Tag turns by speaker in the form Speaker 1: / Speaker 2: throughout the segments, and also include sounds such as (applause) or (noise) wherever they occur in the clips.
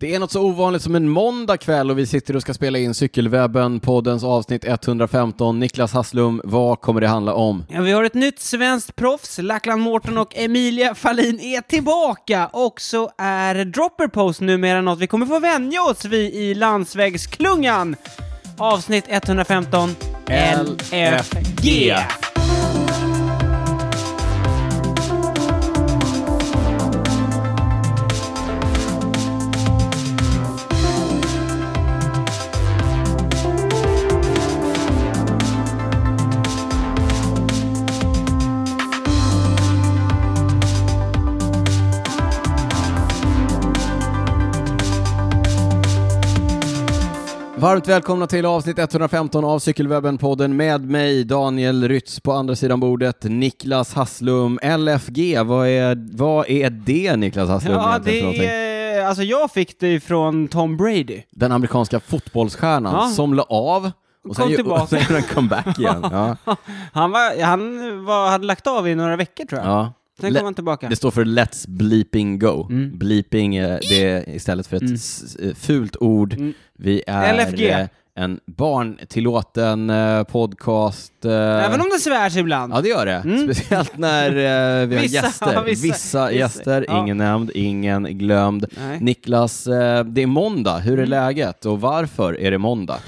Speaker 1: Det är något så ovanligt som en måndag kväll och vi sitter och ska spela in Cykelwebben, poddens avsnitt 115. Niklas Hasslum, vad kommer det handla om?
Speaker 2: Ja, vi har ett nytt svenskt proffs. Lackland Morton och Emilia Fallin är tillbaka! Och så är Dropperpost numera något vi kommer få vänja oss vid i landsvägsklungan. Avsnitt 115 LFG.
Speaker 1: Varmt välkomna till avsnitt 115 av Cykelwebben-podden med mig, Daniel Rytz, på andra sidan bordet, Niklas Hasslum, LFG. Vad är, vad är det, Niklas Hasslum?
Speaker 2: Ja,
Speaker 1: egentligen för någonting?
Speaker 2: det är... Alltså jag fick det från Tom Brady.
Speaker 1: Den amerikanska fotbollsstjärnan
Speaker 2: Ja.
Speaker 1: som la av och
Speaker 2: Kom
Speaker 1: sen, gör-
Speaker 2: tillbaka.
Speaker 1: och sen gjorde (laughs) han comeback
Speaker 2: (laughs)
Speaker 1: igen. Ja.
Speaker 2: Han, var, han var, hade lagt av i några veckor tror jag.
Speaker 1: Ja.
Speaker 2: Sen
Speaker 1: Le-
Speaker 2: kom han tillbaka.
Speaker 1: Det står för Let's Bleeping Go.
Speaker 2: Mm.
Speaker 1: Bleeping, eh, det är istället för ett s- eh, fult ord.
Speaker 2: Mm.
Speaker 1: Vi är
Speaker 2: LFG.
Speaker 1: eh, en barntillåten eh, podcast. eh,
Speaker 2: Även om det svärs ibland.
Speaker 1: Ja, det gör det. Speciellt när eh, vi har
Speaker 2: Vissa,
Speaker 1: gäster.
Speaker 2: vissa,
Speaker 1: Vissa,
Speaker 2: vissa.
Speaker 1: gäster,
Speaker 2: Ja.
Speaker 1: ingen nämnd, ingen glömd.
Speaker 2: Nej.
Speaker 1: Niklas, eh, det är måndag. Hur är
Speaker 2: Mm.
Speaker 1: läget och varför är det
Speaker 2: (laughs)
Speaker 1: måndag?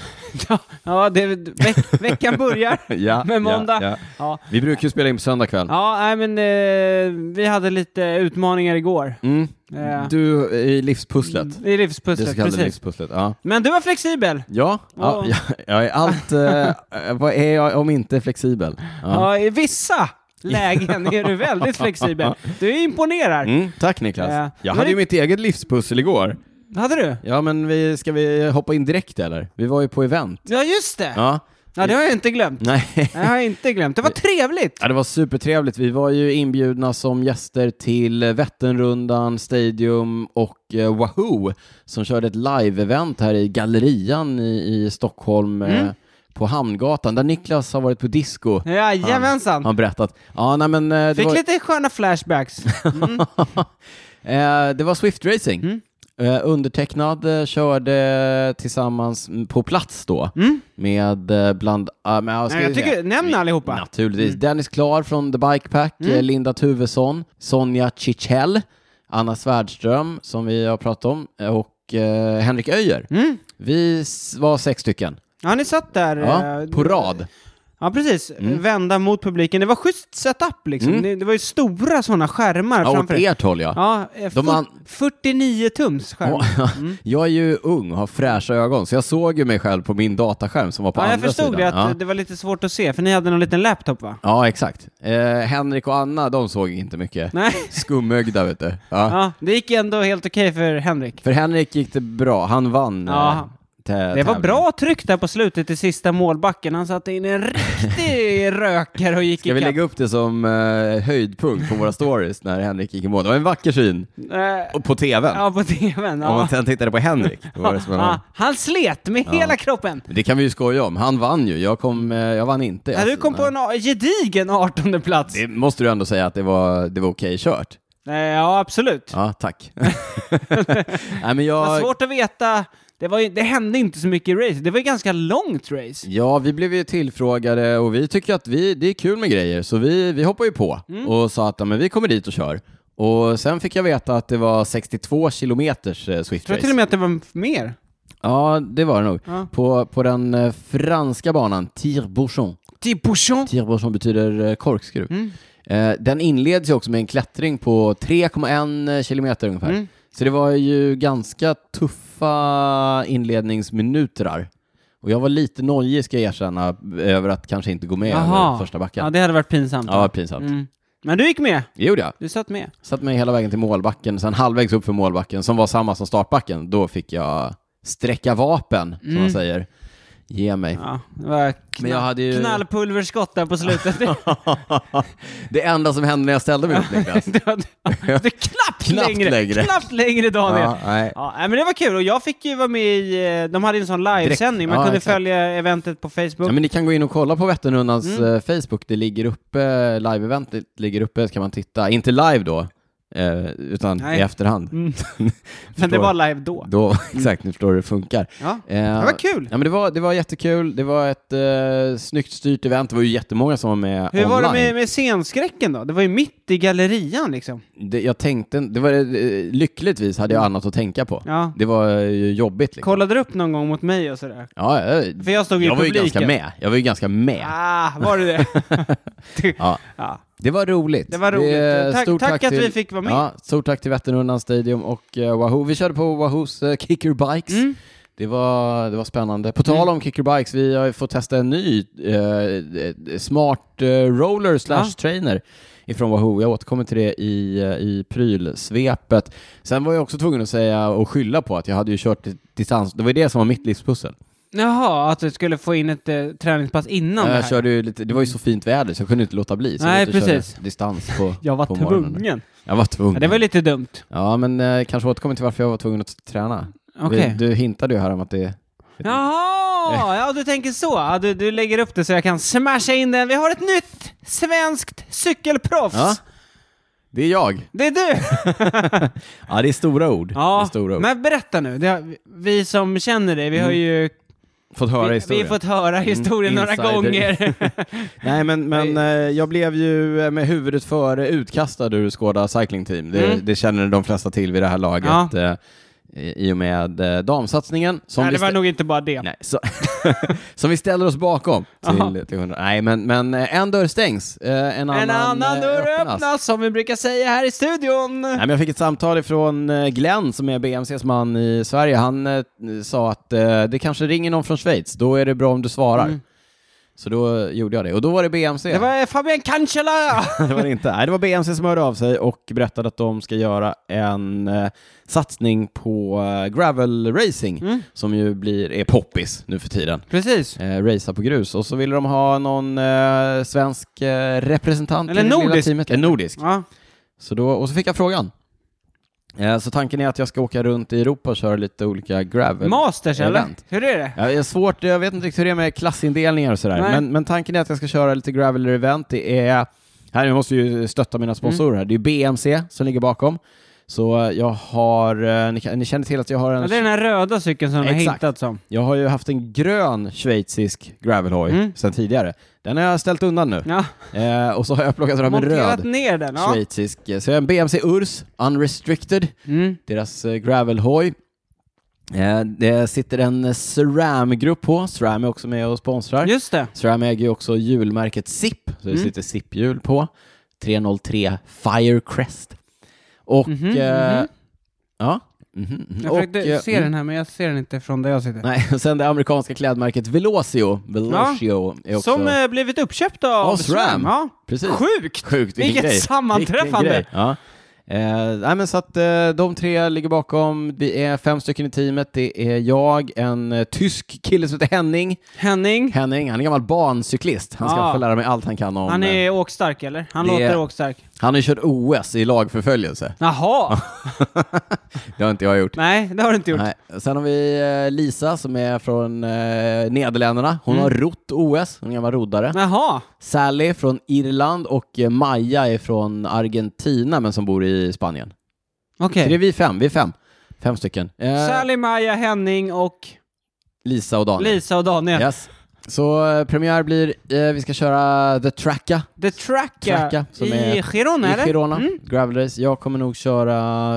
Speaker 2: Ja, det, veck, veckan börjar
Speaker 1: Ja,
Speaker 2: med måndag.
Speaker 1: (laughs) ja, ja.
Speaker 2: Ja.
Speaker 1: Vi brukar ju spela in på söndag kväll.
Speaker 2: Ja, nej men eh, vi hade lite utmaningar igår.
Speaker 1: Mm.
Speaker 2: Eh,
Speaker 1: Du, i livspusslet.
Speaker 2: I
Speaker 1: Det så
Speaker 2: livspusslet,
Speaker 1: kallade
Speaker 2: Mm. precis.
Speaker 1: livspusslet. Ja.
Speaker 2: Men du var flexibel.
Speaker 1: Ja, ja,
Speaker 2: Och-
Speaker 1: ja, jag är allt, eh, vad är jag om inte flexibel? Ja.
Speaker 2: Ja. I vissa lägen är du
Speaker 1: (laughs)
Speaker 2: väldigt flexibel. Du imponerar.
Speaker 1: Mm, tack Niklas.
Speaker 2: Ja.
Speaker 1: Jag
Speaker 2: Men
Speaker 1: hade
Speaker 2: det-
Speaker 1: ju mitt eget livspussel igår.
Speaker 2: Hade du?
Speaker 1: Ja, men vi, ska vi hoppa in direkt eller? Vi var ju på event.
Speaker 2: Ja, just det. Ja,
Speaker 1: Ja,
Speaker 2: det har jag inte glömt.
Speaker 1: nej.
Speaker 2: Det har jag inte glömt. Det var trevligt.
Speaker 1: Ja, det var supertrevligt. Vi var ju inbjudna som gäster till Vätternrundan, Stadium och eh, Wahoo som körde ett live-event här i Gallerian i, i Stockholm eh,
Speaker 2: Mm.
Speaker 1: på Hamngatan där Niklas har varit på disco.
Speaker 2: Jajamensan.
Speaker 1: Han berättat. Ja, nej, men, eh, det
Speaker 2: Fick
Speaker 1: var...
Speaker 2: lite
Speaker 1: (laughs)
Speaker 2: sköna flashbacks.
Speaker 1: Mm. Eh, det var Swift Racing.
Speaker 2: Mm.
Speaker 1: Eh, undertecknad eh, körde tillsammans mm, på plats då med eh, bland... Uh, men, ja, ska
Speaker 2: Mm. Nej, jag
Speaker 1: vi se.
Speaker 2: tycker, Mm. nämn allihopa.
Speaker 1: Naturligtvis. Dennis Klar från The Bike Pack,
Speaker 2: Mm.
Speaker 1: eh, Linda Tuvesson, Sonja Chichell, Anna Svärdström som vi har pratat om eh, och eh, Henrik Öjer.
Speaker 2: Mm.
Speaker 1: Vi s- var sex stycken
Speaker 2: Ja, ni satt där.
Speaker 1: ja,
Speaker 2: eh,
Speaker 1: på rad. Mm.
Speaker 2: Ja, precis. Vända mot publiken. Det var schysst setup liksom. Det, det var ju stora sådana skärmar
Speaker 1: Ja, åt
Speaker 2: framför
Speaker 1: ert håll ja.
Speaker 2: Ja, eh,
Speaker 1: De
Speaker 2: fyr-
Speaker 1: an-
Speaker 2: 49 tums skärm.
Speaker 1: Ja,
Speaker 2: Mm.
Speaker 1: Jag är ju ung och har fräscha ögon, så jag såg ju mig själv på min dataskärm som var på
Speaker 2: ja,
Speaker 1: andra
Speaker 2: jag förstod
Speaker 1: sidan.
Speaker 2: det att
Speaker 1: ja.
Speaker 2: eh, det var lite svårt att se, för ni hade någon liten laptop va?
Speaker 1: ja, exakt. Eh, Henrik och Anna, de såg inte mycket.
Speaker 2: Nej.
Speaker 1: Skumögda, vet du. Ja.
Speaker 2: Ja, det gick ändå helt okej för Henrik.
Speaker 1: För Henrik gick det bra. Han vann eh,
Speaker 2: Ja.
Speaker 1: tä-
Speaker 2: Det var
Speaker 1: tävlingen.
Speaker 2: bra tryck där på slutet i sista målbacken. Han satte in en
Speaker 1: (laughs)
Speaker 2: riktig rökare och gick
Speaker 1: Ska vi
Speaker 2: ikapp.
Speaker 1: lägga upp det som eh, höjdpunkt på våra stories när Henrik gick i mål? Det var en vacker syn.
Speaker 2: Eh,
Speaker 1: Och på tvn.
Speaker 2: Ja, på tvn.
Speaker 1: Om man
Speaker 2: Ja.
Speaker 1: sen tittade på Henrik. Då var det som en
Speaker 2: Ja, han slet med hela kroppen.
Speaker 1: Det kan vi ju skoja om. Han vann ju. Jag, kom, eh, jag vann inte.
Speaker 2: Ja, du kom på en a- gedigen 18 plats.
Speaker 1: Det måste du ändå säga att det var, det var okej kört.
Speaker 2: Eh, Ja, absolut.
Speaker 1: Ja, tack. (laughs) Nej, men
Speaker 2: Det var
Speaker 1: jag...
Speaker 2: svårt att veta. Det, var ju, det hände inte så mycket i race. Det var ju ganska långt race.
Speaker 1: Ja, vi blev ju tillfrågade och vi tycker att vi, det är kul med grejer, så vi, vi hoppar ju på
Speaker 2: Mm.
Speaker 1: och sa att ja, men vi kommer dit och kör. Och sen fick jag veta att det var 62 kilometers eh,
Speaker 2: Jag tror
Speaker 1: Swift-race.
Speaker 2: till och med att det var mer.
Speaker 1: Ja, det var det nog.
Speaker 2: Ja.
Speaker 1: På, på den eh, franska banan, Tir-Bourchon.
Speaker 2: Typ Bouchon.
Speaker 1: Tir-Bourchon betyder eh, korkskruv.
Speaker 2: Mm.
Speaker 1: Eh, den inleds ju också med en klättring på 3,1 kilometer ungefär.
Speaker 2: Mm.
Speaker 1: Så det var ju ganska tuffa inledningsminuter där. Och jag var lite nojig, ska jag erkänna, över att kanske inte gå med
Speaker 2: Jaha.
Speaker 1: över första backen.
Speaker 2: Ja, det hade varit pinsamt.
Speaker 1: Ja, pinsamt.
Speaker 2: Mm. Men du gick med.
Speaker 1: Det gjorde jag.
Speaker 2: Du satt med.
Speaker 1: Satt mig hela vägen till målbacken, sen halvvägs upp för målbacken, som var samma som startbacken. Då fick jag sträcka vapen, som
Speaker 2: Mm.
Speaker 1: man säger. Ge mig. (laughs)
Speaker 2: Ja, det var knall,
Speaker 1: Men jag hade ju-
Speaker 2: knallpulverskott där
Speaker 1: (laughs)
Speaker 2: på slutet. det,
Speaker 1: det enda som hände när jag ställde mig upp, Niklas.
Speaker 2: det, var- det är knappt,
Speaker 1: Knappt
Speaker 2: längre.
Speaker 1: längre.
Speaker 2: Knappt längre, Daniel.
Speaker 1: Ja,
Speaker 2: (laughs) Ja.
Speaker 1: nej.
Speaker 2: nej, men det var kul och jag fick ju vara med i, eh, de hade ju en sån livesändning, man
Speaker 1: Ja,
Speaker 2: kunde
Speaker 1: exakt.
Speaker 2: följa eventet på Facebook. Mm.
Speaker 1: Ja, men ni kan gå in och kolla på Vätternrundans eh, Facebook. Det ligger uppe, live-eventet ligger uppe, så kan man titta. Inte live då, eh, utan
Speaker 2: Nej.
Speaker 1: i efterhand.
Speaker 2: Mm. Men det
Speaker 1: Förstår.
Speaker 2: var live då.
Speaker 1: Då, (laughs) exakt, nu förstår du hur det funkar.
Speaker 2: Ja.
Speaker 1: Eh,
Speaker 2: Det var kul!
Speaker 1: Ja, men det, var, det var jättekul, det var ett eh, snyggt styrt event, det var ju jättemånga som var med
Speaker 2: Hur var
Speaker 1: online.
Speaker 2: det med, med scenskräcken då? Det var ju mitt i gallerian liksom.
Speaker 1: Det, jag tänkte, det var, eh, lyckligtvis hade
Speaker 2: Mm.
Speaker 1: jag annat att tänka på.
Speaker 2: Ja.
Speaker 1: Det var ju jobbigt liksom.
Speaker 2: Kollade du upp någon gång mot mig och sådär?
Speaker 1: Ja, eh, jag,
Speaker 2: För jag stod ju i
Speaker 1: jag var ju
Speaker 2: publiken.
Speaker 1: ganska med. Jag var ju ganska med.
Speaker 2: Ah, var du det? Du-
Speaker 1: (laughs) Ja.
Speaker 2: ja.
Speaker 1: Det var roligt.
Speaker 2: Det var roligt.
Speaker 1: eh,
Speaker 2: Tack-
Speaker 1: stort
Speaker 2: tack att
Speaker 1: till,
Speaker 2: vi fick vara med.
Speaker 1: Ja, stort tack till Vätternrundan Stadium och eh, Wahoo. Vi körde på Wahoos eh, Kicker Bikes.
Speaker 2: Mm.
Speaker 1: Det, var, det var spännande. På tal om Kicker Bikes, vi har ju fått testa en ny eh, smart eh, roller slash
Speaker 2: Ja.
Speaker 1: trainer ifrån Wahoo. Jag återkommer till det i, eh, i prylsvepet. Sen var jag också tvungen att säga och skylla på att jag hade ju kört distans. Det var ju det som var mitt livspussel.
Speaker 2: Jaha, att du skulle få in ett eh, träningspass innan det
Speaker 1: Jag
Speaker 2: här.
Speaker 1: körde ju lite, det var ju så fint väder så jag kunde inte låta bli. Så
Speaker 2: Nej,
Speaker 1: jag åkte och
Speaker 2: precis.
Speaker 1: körde distans på,
Speaker 2: Jag var
Speaker 1: på morgonen.
Speaker 2: tvungen.
Speaker 1: Jag var tvungen.
Speaker 2: Ja, det var lite dumt.
Speaker 1: Ja, men eh, kanske återkommer till varför jag var tvungen att träna.
Speaker 2: Okej.
Speaker 1: Du, du hintade ju här om att det...
Speaker 2: Jaha! Ja, du tänker så. Ja, du, du lägger upp det så jag kan smasha in den. Vi har ett nytt svenskt cykelproffs!
Speaker 1: Ja. Det är jag.
Speaker 2: Det är du!
Speaker 1: Ja, det är stora ord. det är
Speaker 2: Ja,
Speaker 1: stora ord.
Speaker 2: men berätta nu. Det har, vi som känner dig, vi har ju
Speaker 1: Fått Mm. höra
Speaker 2: vi, vi
Speaker 1: historien.
Speaker 2: har fått höra historien
Speaker 1: Mm,
Speaker 2: några
Speaker 1: insider.
Speaker 2: gånger.
Speaker 1: Nej, men, men eh, jag blev ju eh, med huvudet före utkastad ur Skåda Cycling Team. Det,
Speaker 2: Mm.
Speaker 1: det känner de flesta till vid det här laget.
Speaker 2: Ja.
Speaker 1: eh, I i och med eh, damsatsningen. Som
Speaker 2: (laughs) Nej, det
Speaker 1: vi
Speaker 2: var
Speaker 1: stä-
Speaker 2: nog inte bara det.
Speaker 1: Nej, så, (laughs) som vi ställer oss bakom
Speaker 2: Jaha.
Speaker 1: till, till 100. Nej, men, men eh, en dörr stängs, eh, en annan,
Speaker 2: En annan
Speaker 1: eh,
Speaker 2: dörr öppnas, som vi brukar säga här i studion.
Speaker 1: Nej, men jag fick ett samtal ifrån eh, Glenn som är BMCs man i Sverige. Han eh, sa att eh, det kanske ringer någon från Schweiz, då är det bra om du svarar.
Speaker 2: Mm.
Speaker 1: Så då eh, gjorde jag det, och då var det BMC.
Speaker 2: Det var eh, Fabian Cancellara!
Speaker 1: (laughs) det var det inte. Nej, det var BMC som hörde av sig och berättade att de ska göra en eh, satsning på eh, gravel racing,
Speaker 2: Mm.
Speaker 1: som ju blir, är poppis nu för tiden.
Speaker 2: Precis.
Speaker 1: Eh, racea på grus, och så ville de ha någon eh, svensk eh, representant
Speaker 2: Eller
Speaker 1: i det lilla
Speaker 2: nordisk.
Speaker 1: teamet. En nordisk.
Speaker 2: Ja.
Speaker 1: Så då, och så fick jag frågan. Eh, så tanken är att jag ska åka runt i Europa och köra lite olika gravel.
Speaker 2: Masters, eller?
Speaker 1: event.
Speaker 2: Hur är det?
Speaker 1: Ja, det är svårt, jag vet inte riktigt hur det är med klassindelningar och sådär.
Speaker 2: Nej.
Speaker 1: Men, men tanken är att jag ska köra lite graveler event. Det är, här, jag måste ju stötta mina sponsorer
Speaker 2: Mm.
Speaker 1: här. Det är BMC som ligger bakom. Så eh, jag har, eh, ni, kan- ni känner till att jag har en,
Speaker 2: Ja, det är den här röda cykeln som du har
Speaker 1: Exakt.
Speaker 2: hittat som.
Speaker 1: jag har ju haft en grön schweizisk gravelhoj
Speaker 2: Mm.
Speaker 1: sedan tidigare. Den har jag ställt undan nu.
Speaker 2: Ja.
Speaker 1: Eh, och så har jag plockat fram en
Speaker 2: Monterat
Speaker 1: röd
Speaker 2: ner den, ja.
Speaker 1: schweizisk. Så jag har en BMC Urs, unrestricted.
Speaker 2: Mm.
Speaker 1: deras eh, gravelhoj. Eh, Det sitter en eh, SRAM-grupp på. SRAM är också med och sponsrar.
Speaker 2: Just det.
Speaker 1: SRAM äger ju också hjulmärket SIP, så det
Speaker 2: Mm.
Speaker 1: sitter SIP-hjul på. 303 Firecrest. Och...
Speaker 2: Mhm,
Speaker 1: eh,
Speaker 2: mhm.
Speaker 1: Ja. mhm, mhm.
Speaker 2: Jag försökte
Speaker 1: eh,
Speaker 2: se den här, men jag ser den inte från där jag sitter.
Speaker 1: (laughs) Nej, och sen det amerikanska klädmärket Velocio. Velocio är också...
Speaker 2: Som eh, blivit uppköpt av
Speaker 1: Av SRAM.
Speaker 2: Ja.
Speaker 1: precis.
Speaker 2: Sjukt!
Speaker 1: Sjukt,
Speaker 2: Vilket sammanträffande!
Speaker 1: Vilken Ja. Eh, nej men så att eh, de tre ligger bakom, vi är fem stycken i teamet, det är jag, en eh, tysk kille som heter Henning,
Speaker 2: Henning,
Speaker 1: Henning, han är gammal bancyklist, han ska
Speaker 2: Ah.
Speaker 1: få lära mig allt han kan om,
Speaker 2: han
Speaker 1: eh,
Speaker 2: är åkstark eller? Han
Speaker 1: det-
Speaker 2: låter åkstark.
Speaker 1: han har ju kört OS i lagförföljelse,
Speaker 2: Jaha!
Speaker 1: det har inte jag gjort.
Speaker 2: Nej, det har du inte gjort.
Speaker 1: Nej. Sen har vi eh, Lisa som är från eh, Nederländerna, hon
Speaker 2: Mm.
Speaker 1: har rott OS, hon är gammal roddare.
Speaker 2: Jaha!
Speaker 1: Sally från Irland och eh, Maja är från Argentina men som bor i Spanien.
Speaker 2: Okej.
Speaker 1: Så det är vi fem, vi är fem. Fem stycken. Eh,
Speaker 2: Sally, Maja, Henning och
Speaker 1: Lisa och Daniel.
Speaker 2: Lisa och Daniel.
Speaker 1: Yes. Så eh, premiär blir, eh, vi ska köra The Tracka
Speaker 2: The Tracka,
Speaker 1: Tracka, som
Speaker 2: i
Speaker 1: är-
Speaker 2: Girona
Speaker 1: i
Speaker 2: eller?
Speaker 1: Girona,
Speaker 2: Mm.
Speaker 1: Gravel Race. Jag kommer nog köra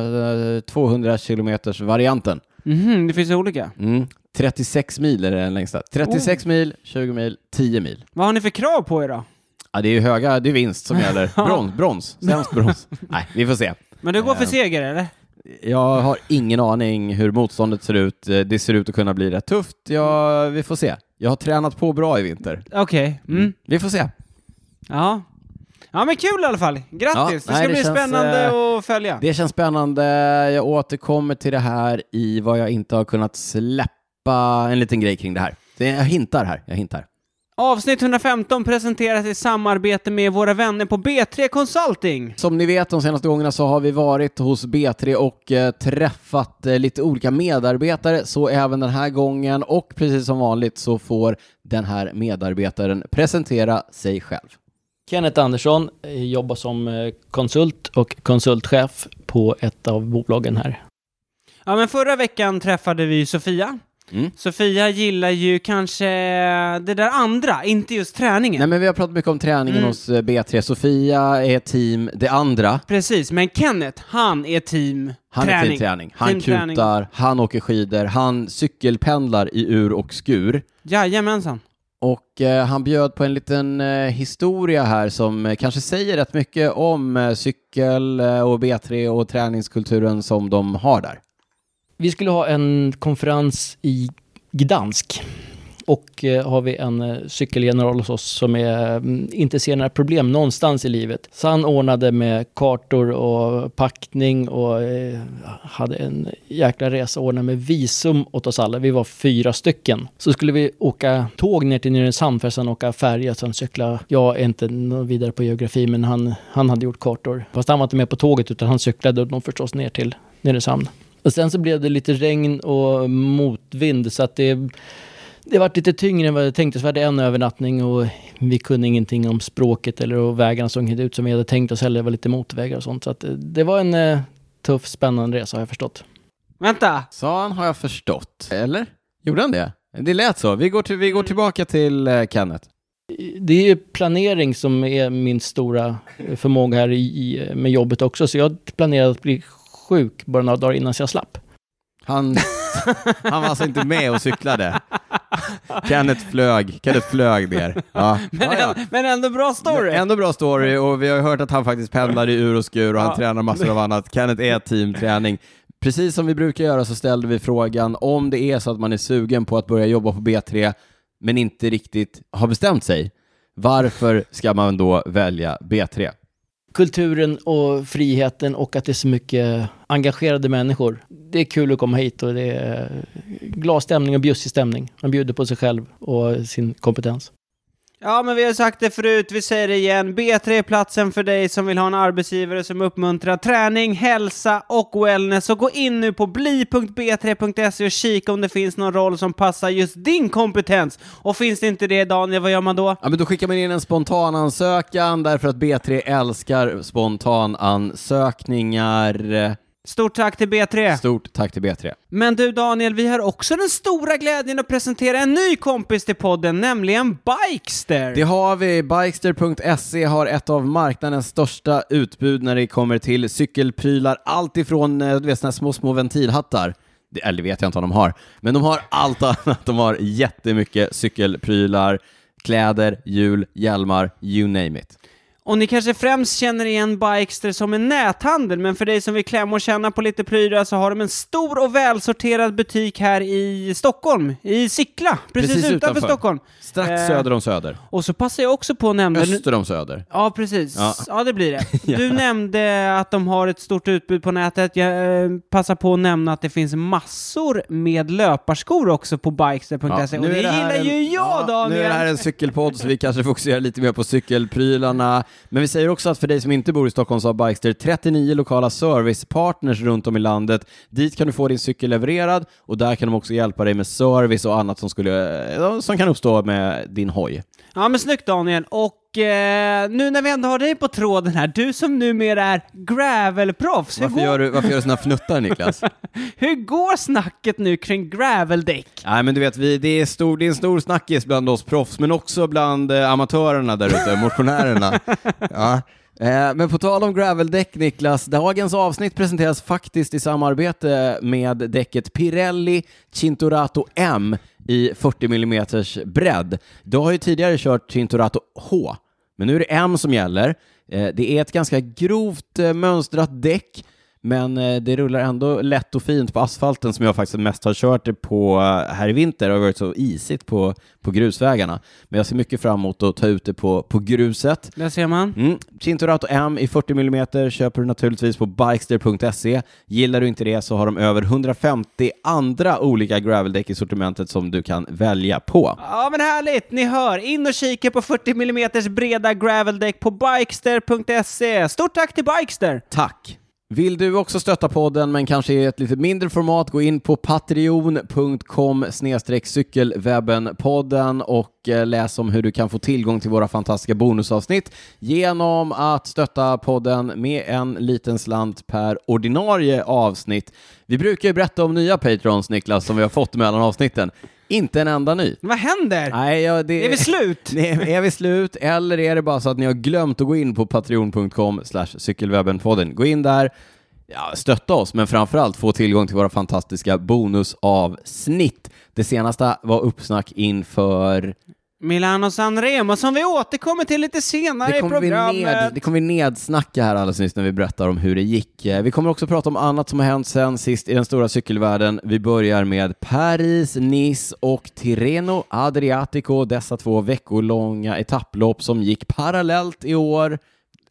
Speaker 1: eh, 200 kilometers varianten.
Speaker 2: Mhm, det finns olika.
Speaker 1: Mm. 36 mil är den längsta.
Speaker 2: Oh.
Speaker 1: 36 mil, 20 mil, 10 mil.
Speaker 2: Vad har ni för krav på er då?
Speaker 1: Ja, det är ju höga, det är vinst som gäller.
Speaker 2: (laughs)
Speaker 1: Brons, brons, sämst brons. Nej, vi får se.
Speaker 2: Men du går för
Speaker 1: Eh.
Speaker 2: seger eller?
Speaker 1: Jag har ingen aning hur motståndet ser ut. Eh, Det ser ut att kunna bli rätt tufft. Ja, vi får se. Jag har tränat på bra i vinter.
Speaker 2: Okej. Mm.
Speaker 1: Vi får se.
Speaker 2: Ja. Ja men kul i alla fall.
Speaker 1: Ja,
Speaker 2: Grattis! det
Speaker 1: nej,
Speaker 2: ska
Speaker 1: det
Speaker 2: bli
Speaker 1: känns,
Speaker 2: spännande
Speaker 1: eh,
Speaker 2: att följa.
Speaker 1: Det känns spännande. Jag återkommer till det här i vad jag inte har kunnat släppa en liten grej kring det här. Det- Jag hintar här. Jag hintar.
Speaker 2: Avsnitt 115 presenteras i samarbete med våra vänner på B3 Consulting.
Speaker 1: Som ni vet, de senaste gångerna så har vi varit hos B3 och eh, träffat eh, lite olika medarbetare, så även den här gången. Och precis som vanligt så får den här medarbetaren presentera sig själv.
Speaker 3: Kenneth Andersson eh, jobbar som eh, konsult och konsultchef på ett av bolagen här.
Speaker 2: Ja, men förra veckan träffade vi Sofia.
Speaker 1: Mm.
Speaker 2: Sofia gillar ju kanske det där andra, inte just träningen.
Speaker 1: Nej, men vi har pratat mycket om träningen hos eh, B3. Sofia är team det andra.
Speaker 2: Precis, men Kenneth, han är team
Speaker 1: Han är team
Speaker 2: träning.
Speaker 1: träning. Han
Speaker 2: Team träning.
Speaker 1: kutar, han åker skidor, han cykelpendlar i ur och skur.
Speaker 2: Jajamensan.
Speaker 1: Och eh, han bjöd på en liten eh, historia här som eh, kanske säger rätt mycket om eh, cykel eh, och B3 och träningskulturen som de har där.
Speaker 3: Vi skulle ha en konferens i Gdansk och eh, har vi en eh, cykelgeneral hos oss som är, mm, inte ser några problem någonstans i livet. Så han ordnade med kartor och packning och eh, hade en jäkla resa och ordnade med visum åt oss alla. Vi var fyra stycken. Så skulle vi åka tåg ner till Nynäshamn för att sen åka färja, sen cykla. Jag är inte någon vidare på geografi, men han, han hade gjort kartor. Fast han var inte med på tåget utan han cyklade de förstås ner till Nynäshamn. Och sen så blev det lite regn och motvind så att det det vart lite tyngre än vad jag tänkte, så vi hade en övernattning och vi kunde ingenting om språket eller och vägarna såg inte ut som vi hade tänkt oss heller. Det var lite motvägar och sånt. Så att eh, det var en eh, tuff, spännande resa har jag förstått.
Speaker 2: Vänta,
Speaker 1: Sa han har jag förstått. Eller? Gjorde han det? Det lät så. Vi går, till, vi går tillbaka till eh, Kenneth.
Speaker 3: Det är ju planering som är min stora eh, förmåga här i, i, eh, med jobbet också, så jag planerade att bli sjuk bara några dagar innan så jag slapp.
Speaker 1: Han, (laughs) han var alltså inte med och cyklade. (laughs) Kenneth flög, Kenneth flög ner. Ja.
Speaker 2: men,
Speaker 1: Ja, ja.
Speaker 2: ändå, (laughs) men ändå bra story.
Speaker 1: Ändå bra story och vi har ju hört att han faktiskt pendlar i ur och skur och han
Speaker 2: Ja.
Speaker 1: tränar massor av annat. Kenneth är teamträning. Precis som vi brukar göra så ställde vi frågan om det är så att man är sugen på att börja jobba på B3 men inte riktigt har bestämt sig. Varför ska man då välja B3?
Speaker 3: Kulturen och friheten och att det är så mycket engagerade människor. Det är kul att komma hit och det är glad stämning och bjussig stämning. Man bjuder på sig själv och sin kompetens.
Speaker 2: Ja, men vi har sagt det förut, vi säger det igen. B3 är platsen för dig som vill ha en arbetsgivare som uppmuntrar träning, hälsa och wellness. Så gå in nu på bli.b3.se och kika om det finns någon roll som passar just din kompetens. Och finns det inte det, Daniel, vad gör man då?
Speaker 1: Ja, men då skickar man in en spontan ansökan därför att B3 älskar spontan ansökningar.
Speaker 2: Stort tack till B3!
Speaker 1: Stort tack till B3.
Speaker 2: Men du Daniel, vi har också den stora glädjen att presentera en ny kompis till podden, nämligen Bikester!
Speaker 1: Det har vi. Bikester.se E har ett av marknadens största utbud när det kommer till cykelprylar. Allt ifrån eh, du vet, såna här små, små ventilhattar. Det, eller det vet jag inte om de har. Men de har allt (laughs) annat. De har jättemycket cykelprylar, kläder, hjul, hjälmar, you name it.
Speaker 2: Och ni kanske främst känner igen Bikester som en näthandel, men för dig som vill klämma och känna på lite prylar så har de en stor och välsorterad butik här i Stockholm, i Sickla, precis, utanför, Stockholm.
Speaker 1: Strax
Speaker 2: Eh,
Speaker 1: söder om Söder.
Speaker 2: Och så passar jag också på att nämna...
Speaker 1: Öster om Söder.
Speaker 2: Ja, precis. Ja.
Speaker 1: (laughs) Ja.
Speaker 2: det blir det. Du nämnde att de har ett stort utbud på nätet. Jag eh, passar på att nämna att det finns massor med löparskor också på bikester.se. E. och det,
Speaker 1: är
Speaker 2: gillar
Speaker 1: här en-
Speaker 2: ju jag,
Speaker 1: Ja,
Speaker 2: Daniel!
Speaker 1: Nu är det här en cykelpodd så vi kanske fokuserar lite mer på cykelprylarna. Men vi säger också att för dig som inte bor i Stockholm så har Bikester 39 lokala servicepartners runt om i landet. Dit kan du få din cykel levererad och där kan de också hjälpa dig med service och annat som, skulle, eh, som kan uppstå med din hoj.
Speaker 2: Ja, men snyggt Daniel. Och eh, nu när vi ändå har dig på tråden här, du som numera är gravelproffs, hur
Speaker 1: Varför
Speaker 2: går,
Speaker 1: gör du, varför gör du såna fnuttar Niklas?
Speaker 2: (laughs) hur går snacket nu kring graveldäck?
Speaker 1: Nej men du vet, vi, det, är stor, det är en stor snackis bland oss proffs, men också bland eh, amatörerna där ute, motionärerna. (laughs) Ja. Eh, men på tal om graveldäck Niklas, dagens avsnitt presenteras faktiskt i samarbete med däcket Pirelli Cinturato M i 40 mm bredd. Du har ju tidigare kört Cinturato H, men nu är det M som gäller. Eh, det är ett ganska grovt eh, mönstrat däck, men eh, det rullar ändå lätt och fint på asfalten som jag faktiskt mest har kört det på eh, här i vinter. Det har varit så isigt på, på grusvägarna. Men jag ser mycket fram emot att ta ut det på, på gruset.
Speaker 2: Där ser man.
Speaker 1: Mm. Cinturato M i 40 mm köper du naturligtvis på bikester.se. Gillar du inte det så har de över 150 andra olika graveldäck i sortimentet som du kan välja på.
Speaker 2: Ja men härligt, ni hör. In och kika på 40 mm breda graveldäck på bikester.se. Stort tack till Bikester!
Speaker 1: Tack! Vill du också stötta podden, men kanske i ett lite mindre format, gå in på patreon.com cykelwebbenpodden och eh, läs om hur du kan få tillgång till våra fantastiska bonusavsnitt genom att stötta podden med en liten slant per ordinarie avsnitt. Vi brukar ju berätta om nya patrons, Niklas, som vi har fått mellan avsnitten. Inte en enda ny.
Speaker 2: Vad händer?
Speaker 1: Nej, ja, det...
Speaker 2: Är vi slut?
Speaker 1: Nej, men är vi slut eller är det bara så att ni har glömt att gå in på patreon.com slash cykelwebbenpodden? Gå in där, ja, stötta oss, men framförallt få tillgång till våra fantastiska bonusavsnitt. Det senaste var uppsnack inför...
Speaker 2: Milano Sanremo som vi återkommer till lite senare
Speaker 1: Det
Speaker 2: i
Speaker 1: kommer, vi
Speaker 2: programmet.
Speaker 1: ned, det kommer vi nedsnacka här alldeles nyss när vi berättar om hur det gick. Eh, Vi kommer också prata om annat som har hänt sen sist i den stora cykelvärlden. Vi börjar med Paris, Nice och Tirreno Adriatico, dessa två veckolånga etapplopp som gick parallellt i år.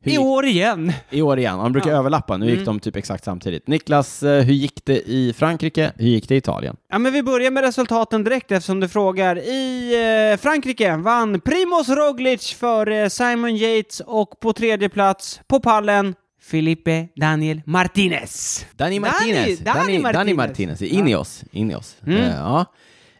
Speaker 1: Hur
Speaker 2: I
Speaker 1: gick
Speaker 2: år igen.
Speaker 1: i år igen. De brukar
Speaker 2: Ja. Mm.
Speaker 1: överlappa. Nu gick de typ exakt samtidigt. Niklas, eh, hur gick det i Frankrike? Hur gick det i Italien?
Speaker 2: Ja, men vi börjar med resultaten direkt eftersom du frågar. I eh, Frankrike vann Primoz Roglic före Simon Yates och på tredje plats på pallen Felipe Daniel Martinez.
Speaker 1: Danny Martinez.
Speaker 2: Danny Martinez.
Speaker 1: Danny Martinez. In i oss. In i oss.
Speaker 2: Mm.
Speaker 1: Eh, ja.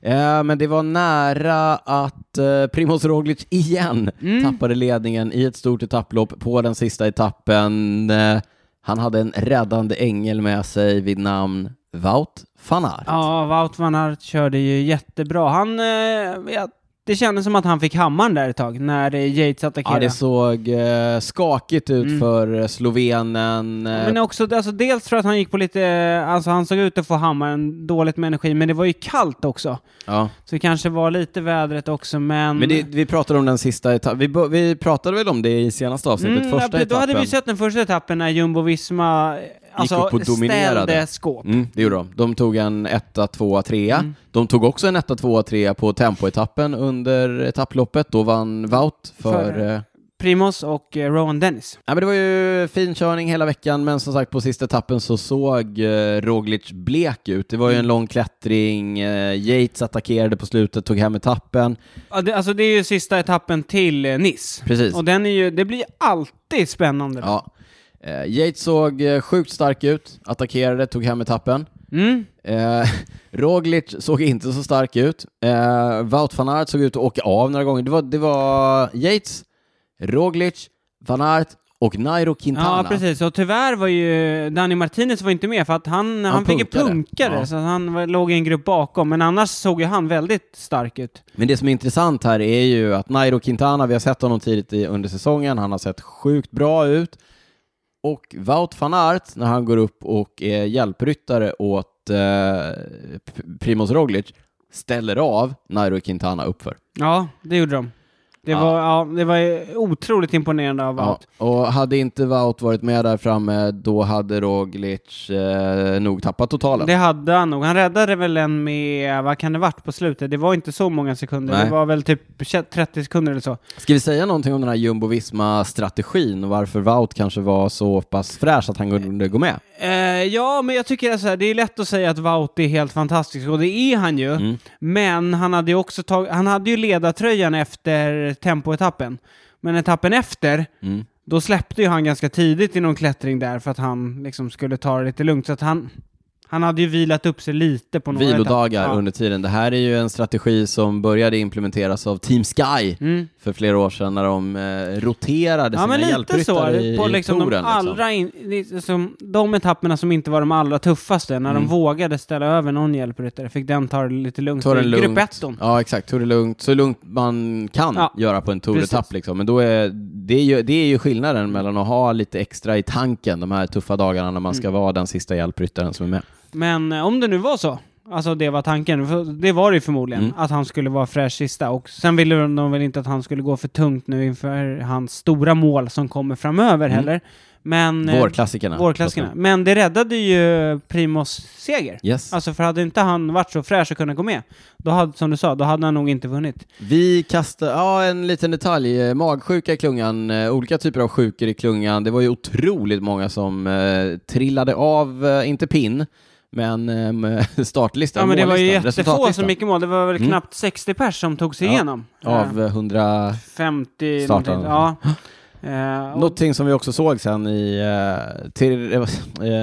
Speaker 1: Eh, Men det var nära att eh, Primoz Roglic igen
Speaker 2: Mm.
Speaker 1: tappade ledningen i ett stort etapplopp på den sista etappen. Eh, Han hade en räddande ängel med sig vid namn Wout van Aert.
Speaker 2: Ja, Wout van Aert körde ju jättebra. Han, eh, ja, det kändes som att han fick hammaren där ett tag när eh, Yates
Speaker 1: Ja,
Speaker 2: attackerade.
Speaker 1: det såg eh, skakigt ut
Speaker 2: Mm.
Speaker 1: för eh, slovenen. eh,
Speaker 2: Men också, alltså, dels för att han gick på lite, alltså han såg ut att få hammaren dåligt med energi, men det var ju kallt också.
Speaker 1: ja.
Speaker 2: Så det kanske var lite vädret också, men...
Speaker 1: Men det, vi pratade om den sista etappen, vi, bo- vi pratade väl om det i senaste avsnittet,
Speaker 2: Mm,
Speaker 1: första
Speaker 2: ja,
Speaker 1: etappen?
Speaker 2: Då hade vi sett den första etappen när Jumbo-Visma eh, alltså,
Speaker 1: upp och dominerade.
Speaker 2: ställde skåp.
Speaker 1: Mm, det gjorde de. De tog en etta, tvåa, trea. De tog också en etta, tvåa, trea på tempoetappen under etapploppet. Då vann Wout för...
Speaker 2: För-
Speaker 1: eh,
Speaker 2: Primoz och eh, Rowan Dennis.
Speaker 1: Nej, men det var ju fin körning hela veckan, men som sagt på sista etappen så såg eh, Roglic blek ut. Det var ju en lång klättring, eh, Yates attackerade på slutet, tog hem etappen.
Speaker 2: Ja, det, alltså det är ju sista etappen till eh, Nice.
Speaker 1: Precis.
Speaker 2: Och den är ju, det blir ju alltid spännande. då.
Speaker 1: Ja. Eh, Yates såg eh, sjukt stark ut, attackerade, tog hem etappen.
Speaker 2: Mm.
Speaker 1: Eh, (laughs) Roglic såg inte så stark ut. Eh, Wout van Aert såg ut att åka av några gånger. Det var, det var Yates, Roglic, van Aert och Nairo Quintana.
Speaker 2: Ja, precis. Och tyvärr var ju Danny Martinez var inte med för att han, han, fick ju
Speaker 1: punkade.
Speaker 2: punkare,
Speaker 1: Ja.
Speaker 2: så att han var, låg i en grupp bakom. Men annars såg ju han väldigt stark ut.
Speaker 1: Men det som är intressant här är ju att Nairo Quintana, vi har sett honom tidigt i, under säsongen, han har sett sjukt bra ut. Och Wout van Aert, när han går upp och är hjälpryttare åt eh, P- Primoz Roglic, ställer av Nairo Quintana uppför.
Speaker 2: Ja, det gjorde de. Det,
Speaker 1: Ja.
Speaker 2: Var, ja, det var ju otroligt imponerande av
Speaker 1: Ja,
Speaker 2: allt.
Speaker 1: och hade inte Wout varit med där framme, då hade Roglic eh, nog tappat totalen.
Speaker 2: Det hade han nog. Han räddade väl en med, vad kan det varit på slutet? Det var inte så många sekunder.
Speaker 1: Nej.
Speaker 2: Det var väl typ 30 sekunder eller så.
Speaker 1: Ska vi säga någonting om den här jumbo-visma-strategin och varför Wout kanske var så pass fräsch att han kunde gå med?
Speaker 2: Eh, ja, men jag tycker att så här, det är lätt att säga att Wout är helt fantastisk, och det är han ju.
Speaker 1: Mm.
Speaker 2: Men han hade ju också tagit, han hade ju ledartröjan efter tempoetappen. Men etappen efter,
Speaker 1: Mm.
Speaker 2: då släppte ju han ganska tidigt i någon klättring där för att han liksom skulle ta det lite lugnt. Så att han, han hade ju vilat upp sig lite på några
Speaker 1: Vilodagar
Speaker 2: etapper.
Speaker 1: under tiden. Det här är ju en strategi som började implementeras av Team Sky
Speaker 2: Ja. Mm.
Speaker 1: för flera år sedan när de eh, roterade
Speaker 2: Ja,
Speaker 1: sina
Speaker 2: men lite så.
Speaker 1: hjälpryttare i,
Speaker 2: På
Speaker 1: i
Speaker 2: liksom de,
Speaker 1: touren. liksom.
Speaker 2: allra in, liksom, de etapperna som inte var de allra tuffaste, när
Speaker 1: Mm.
Speaker 2: de vågade ställa över någon hjälpryttare, fick den ta det lite lugnt.
Speaker 1: Ta det
Speaker 2: I
Speaker 1: lugnt.
Speaker 2: Grupp 1 då.
Speaker 1: Ja, exakt. Tog det lugnt, så lugnt man kan
Speaker 2: Ja,
Speaker 1: göra på en touretapp
Speaker 2: precis.
Speaker 1: liksom. Men då är, det, är ju, det är ju skillnaden mellan att ha lite extra i tanken de här tuffa dagarna när man ska
Speaker 2: Mm.
Speaker 1: vara den sista hjälpryttaren som är med.
Speaker 2: Men eh, om det nu var så, alltså det var tanken, för det var det ju förmodligen,
Speaker 1: Mm.
Speaker 2: att han skulle vara fräsch sista. Och sen ville de- de väl inte att han skulle gå för tungt nu inför hans stora mål som kommer framöver
Speaker 1: Mm.
Speaker 2: heller. Men, eh,
Speaker 1: Vårklassikerna.
Speaker 2: vårklassikerna. Men det räddade ju Primos seger.
Speaker 1: Yes.
Speaker 2: Alltså för hade inte han varit så fräsch och kunnat gå med, då hade, som du sa, då hade han nog inte vunnit.
Speaker 1: Vi kastade, ja en liten detalj, Eh, magsjuka i klungan, eh, olika typer av sjukor i klungan. Det var ju otroligt många som eh, trillade av, eh, inte pin, men eh, (laughs) startlistan,
Speaker 2: Ja men det var ju
Speaker 1: mållistan,
Speaker 2: jättefå
Speaker 1: resultatlistan.
Speaker 2: som gick i mål. Det var väl
Speaker 1: Mm.
Speaker 2: knappt 60 pers som tog sig
Speaker 1: Ja.
Speaker 2: igenom.
Speaker 1: Av eh, 100...
Speaker 2: 50
Speaker 1: Startade. (gasps)
Speaker 2: någonting. Ja. Eh, och
Speaker 1: Någonting som vi också såg sen i eh, till, eh,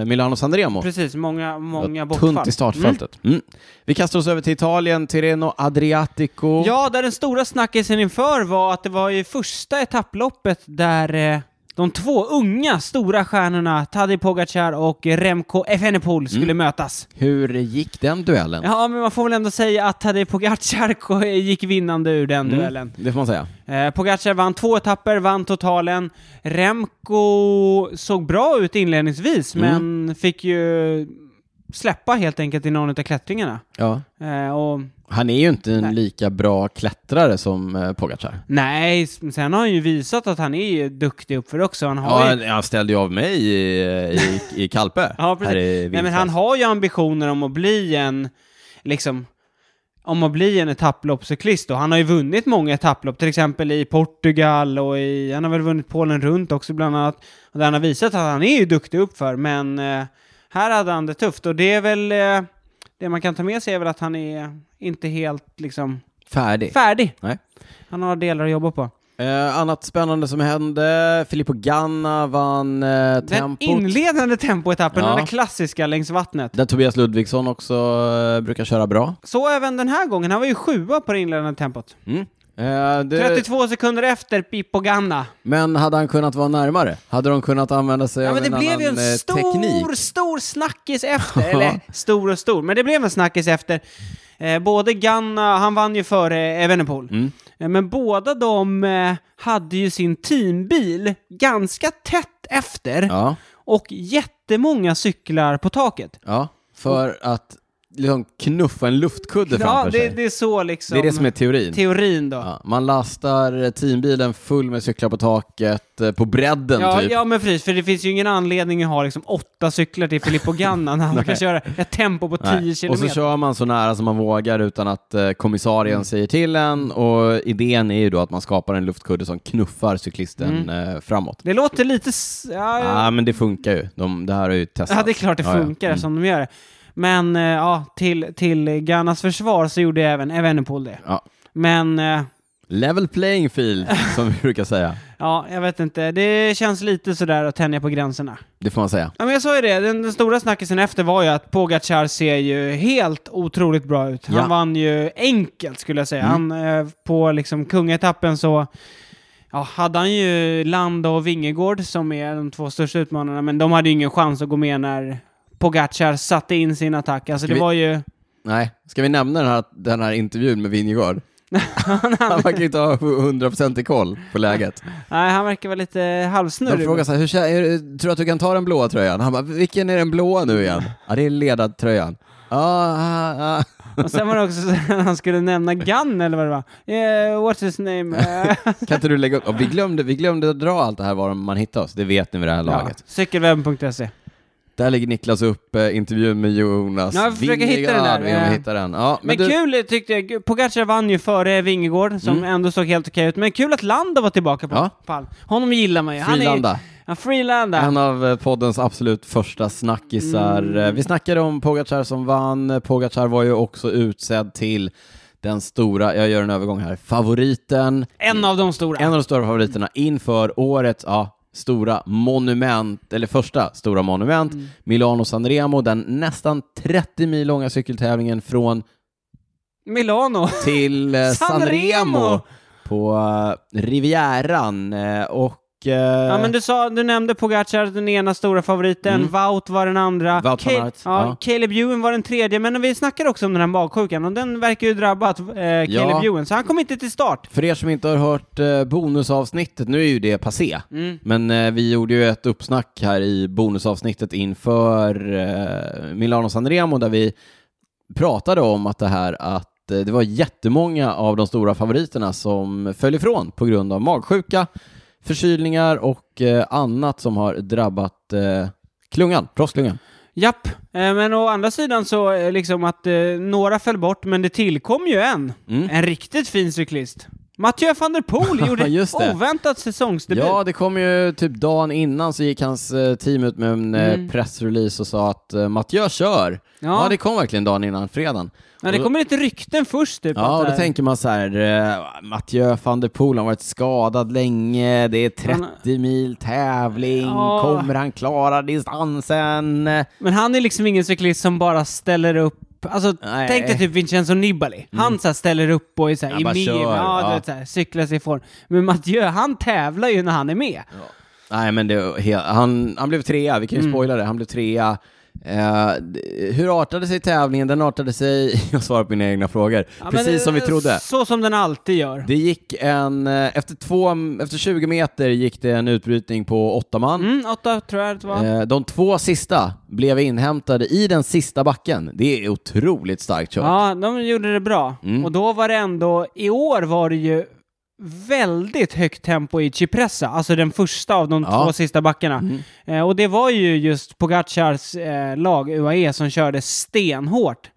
Speaker 1: Milano Sanremo.
Speaker 2: precis, många, många bortfall.
Speaker 1: Tunt i startfältet. Mm. Vi kastar oss över till Italien, Tirreno Adriatico.
Speaker 2: Ja, där den stora snackisen inför var att det var i första etapploppet där eh, de två unga stora stjärnorna Tadej Pogacar och Remco Evenepoel skulle
Speaker 1: Mm.
Speaker 2: mötas.
Speaker 1: Hur gick den duellen?
Speaker 2: Ja, men man får väl ändå säga att Tadej Pogacar (laughs) ko- gick vinnande ur den
Speaker 1: Mm,
Speaker 2: duellen.
Speaker 1: Det får man säga.
Speaker 2: Eh, Pogacar vann två etapper, vann totalen. Remco såg bra ut inledningsvis,
Speaker 1: Mm.
Speaker 2: men fick ju släppa helt enkelt i någon av klättringarna.
Speaker 1: Ja.
Speaker 2: Eh, och
Speaker 1: Han är ju inte en
Speaker 2: Nej.
Speaker 1: lika bra klättrare som eh, Pogacar.
Speaker 2: nej, s- sen har han ju visat att han är ju duktig uppför också. Han har ju...
Speaker 1: han ställde ju av mig i, i, i Kalpe.
Speaker 2: (laughs) Ja, precis. Nej, men han har ju ambitioner om att bli en, liksom, om att bli en etapploppscyklist och han har ju vunnit många etapplopp, till exempel i Portugal och i, han har väl vunnit Polen runt också bland annat, och där han har visat att han är ju duktig uppför, men eh, här hade han det tufft och det är väl, eh, det man kan ta med sig är väl att han är inte helt liksom
Speaker 1: Färdig.
Speaker 2: färdig.
Speaker 1: Nej.
Speaker 2: Han har delar att jobba på.
Speaker 1: Eh, annat spännande som hände, Filippo Ganna vann eh,
Speaker 2: Den
Speaker 1: tempot.
Speaker 2: inledande tempoetappen,
Speaker 1: Ja.
Speaker 2: den där klassiska längs vattnet.
Speaker 1: där Tobias Ludvigsson också eh, brukar köra bra.
Speaker 2: Så även den här gången, han var ju sjua på det inledande tempot.
Speaker 1: Mm. Eh, det,
Speaker 2: 32 sekunder efter Pippo Ganna.
Speaker 1: men hade han kunnat vara närmare? Hade de kunnat använda sig
Speaker 2: Ja,
Speaker 1: av
Speaker 2: men det
Speaker 1: en
Speaker 2: blev
Speaker 1: annan
Speaker 2: ju
Speaker 1: eh,
Speaker 2: en stor,
Speaker 1: teknik?
Speaker 2: stor snackis efter. Eller stor och stor, men det blev en snackis efter. Eh, både Ganna, han vann ju före Evenepoel.
Speaker 1: Mm.
Speaker 2: Eh, men båda de eh, hade ju sin teambil ganska tätt efter
Speaker 1: Ja,
Speaker 2: och jättemånga cyklar på taket.
Speaker 1: ja, för att liksom knuffa en luftkudde
Speaker 2: Ja,
Speaker 1: framför
Speaker 2: det,
Speaker 1: sig.
Speaker 2: det är så liksom.
Speaker 1: det är det som är teorin.
Speaker 2: teorin då.
Speaker 1: Ja, man lastar eh, teambilen full med cyklar på taket, eh, på bredden
Speaker 2: Ja,
Speaker 1: typ.
Speaker 2: ja, men precis, för det finns ju ingen anledning att ha liksom åtta cyklar till Filippo Ganna när han kan
Speaker 1: (laughs) Nej.
Speaker 2: köra ett tempo på 10
Speaker 1: Nej.
Speaker 2: kilometer. Mm.
Speaker 1: Och så kör man så nära som man vågar utan att eh, kommissarien säger till en och idén är ju då att man skapar en luftkudde som knuffar
Speaker 2: Mm.
Speaker 1: cyklisten eh, framåt.
Speaker 2: Det låter lite... s- Ja,
Speaker 1: Ja,
Speaker 2: ja.
Speaker 1: Ah, men det funkar ju. De, det här har ju testat.
Speaker 2: ja det är klart det
Speaker 1: Ja, ja.
Speaker 2: funkar alltså.
Speaker 1: Mm.
Speaker 2: som de gör det. Men eh, ja, till, till Gannas försvar så gjorde även Evenepoel det.
Speaker 1: Ja.
Speaker 2: Men eh,
Speaker 1: Level playing field, (laughs) som vi brukar säga.
Speaker 2: ja, jag vet inte. Det känns lite sådär att tänja på gränserna.
Speaker 1: Det får man säga.
Speaker 2: Ja, men jag sa ju det, den, den stora snackisen efter var ju att Pogacar ser ju helt otroligt bra ut. Han
Speaker 1: Ja. Mm.
Speaker 2: vann ju enkelt skulle jag säga. Han, eh, på liksom kungaetappen så ja, hade han ju Landa och Vingegård som är de två största utmanarna, men de hade ju ingen chans att gå med när Pogacar satte in sin attack. Alltså
Speaker 1: Ska
Speaker 2: det
Speaker 1: vi-
Speaker 2: var ju...
Speaker 1: Nej, ska vi nämna den här, den här intervjun med
Speaker 2: (laughs)
Speaker 1: Vingegaard? Han verkar ju inte ha 100% koll på läget.
Speaker 2: Nej, han verkar vara lite
Speaker 1: De
Speaker 2: halvsnurrig.
Speaker 1: frågar så här, hur, kä- är det- tror du att du kan ta den blåa tröjan? Han bara, vilken är den blåa nu igen? Ja, det är ledartröjan. Ja, ah, ah.
Speaker 2: Och sen var det också så (laughs) att han skulle nämna Gunn eller vad det var. Eh, what's his name? Eh,
Speaker 1: Kan inte du lägga upp? Ja, vi, glömde, vi glömde dra allt det här var man hittade oss, det vet ni vid det här (laughs)
Speaker 2: ja,
Speaker 1: laget.
Speaker 2: cykelwebben.se.
Speaker 1: Där lägger Niklas upp eh, intervjun med Jonas
Speaker 2: Ja, jag försöker hitta den där.
Speaker 1: Vingegaard. Vi om vi
Speaker 2: Eh.
Speaker 1: hittar den. Ja,
Speaker 2: Men,
Speaker 1: men du, Mm.
Speaker 2: kul tyckte jag. Pogacar vann ju före Vingegård som ändå såg helt okej ut. Men kul att Landa var tillbaka på
Speaker 1: Ja.
Speaker 2: pall. Honom gillar man ju. Han är-
Speaker 1: Frilanda.
Speaker 2: Ja, Freelanda.
Speaker 1: En av eh, poddens absolut första snackisar.
Speaker 2: Mm.
Speaker 1: Eh, Vi snackade om Pogacar som vann. Eh, Pogacar var ju också utsedd till den stora, jag gör en övergång här, favoriten.
Speaker 2: En av de stora.
Speaker 1: En av de stora favoriterna inför årets ja, stora monument, eller första stora monument,
Speaker 2: Mm.
Speaker 1: Milano Sanremo, den nästan 30 mil långa cykeltävlingen från
Speaker 2: Milano.
Speaker 1: till eh,
Speaker 2: (gasps) Sanremo!
Speaker 1: Sanremo på eh, Rivieran. Eh, och eh,
Speaker 2: Ja, men du, sa, du nämnde Pogacar, den ena stora favoriten.
Speaker 1: Mm.
Speaker 2: Wout var den andra.
Speaker 1: Wout van
Speaker 2: Ca-
Speaker 1: Aert,
Speaker 2: ja,
Speaker 1: ja.
Speaker 2: Caleb Ewan var den tredje. Men vi snackade också om den här magsjukan och den verkar ju drabbat eh, Caleb
Speaker 1: Ja.
Speaker 2: Ewan. Så han kom inte till start.
Speaker 1: För er som inte har hört eh, bonusavsnittet, nu är ju det passé, men eh, vi gjorde ju ett uppsnack här i bonusavsnittet inför eh, Milano Sanremo där vi pratade om att det här att eh, det var jättemånga av de stora favoriterna som föll ifrån på grund av magsjuka, förkylningar och eh, annat som har drabbat eh, klungan, proffsklungan.
Speaker 2: Japp. Eh, men å andra sidan så eh, liksom att eh, några föll bort, men det tillkom ju en.
Speaker 1: Mm.
Speaker 2: En riktigt fin cyklist. Mathieu van der Poel
Speaker 1: (laughs)
Speaker 2: gjorde
Speaker 1: Just det.
Speaker 2: ett oväntat säsongsdebut.
Speaker 1: Ja, det kom ju typ dagen innan så gick hans eh, team ut med en eh,
Speaker 2: Mm.
Speaker 1: pressrelease och sa att eh, Mathieu kör. Ja.
Speaker 2: Ja.
Speaker 1: det kom verkligen dagen innan, fredagen.
Speaker 2: Men det kommer lite rykten först typ.
Speaker 1: Ja,
Speaker 2: att
Speaker 1: och
Speaker 2: det
Speaker 1: då
Speaker 2: här-
Speaker 1: tänker man så här, eh, Mathieu van der Poel har varit skadad länge, det är 30 mil tävling,
Speaker 2: Ja.
Speaker 1: kommer han klara distansen?
Speaker 2: Men han är liksom ingen cyklist som bara ställer upp. Alltså,
Speaker 1: Nej.
Speaker 2: tänk dig typ Vincenzo Nibali. Han så här ställer upp och är så här,
Speaker 1: Han
Speaker 2: i
Speaker 1: bara
Speaker 2: meme.
Speaker 1: kör,
Speaker 2: ja,
Speaker 1: ja.
Speaker 2: Du vet, så här, cyklar sig i form. Men Mathieu, han tävlar ju när han är med.
Speaker 1: Nej, men det, var he- han, han blev trea, vi kan ju
Speaker 2: Mm.
Speaker 1: spoila det, han blev trea. Eh, d- hur artade sig tävlingen? Den artade sig, (laughs) jag svarar på mina egna frågor,
Speaker 2: Ja,
Speaker 1: precis
Speaker 2: men,
Speaker 1: som vi
Speaker 2: eh,
Speaker 1: trodde.
Speaker 2: Så som den alltid gör.
Speaker 1: Det gick en, eh, efter, två, efter 20 meter gick det en utbrytning på åtta man.
Speaker 2: Mm, åtta tror jag det var.
Speaker 1: Eh, De två sista blev inhämtade i den sista backen. Det är otroligt starkt kört.
Speaker 2: Ja, de gjorde det bra.
Speaker 1: Mm.
Speaker 2: Och då var det ändå, i år var det ju väldigt högt tempo i Cipressa, alltså den första av de
Speaker 1: Ja. Mm.
Speaker 2: två sista backarna. Eh, och det var ju just Pogacars eh, lag, UAE, som körde stenhårt.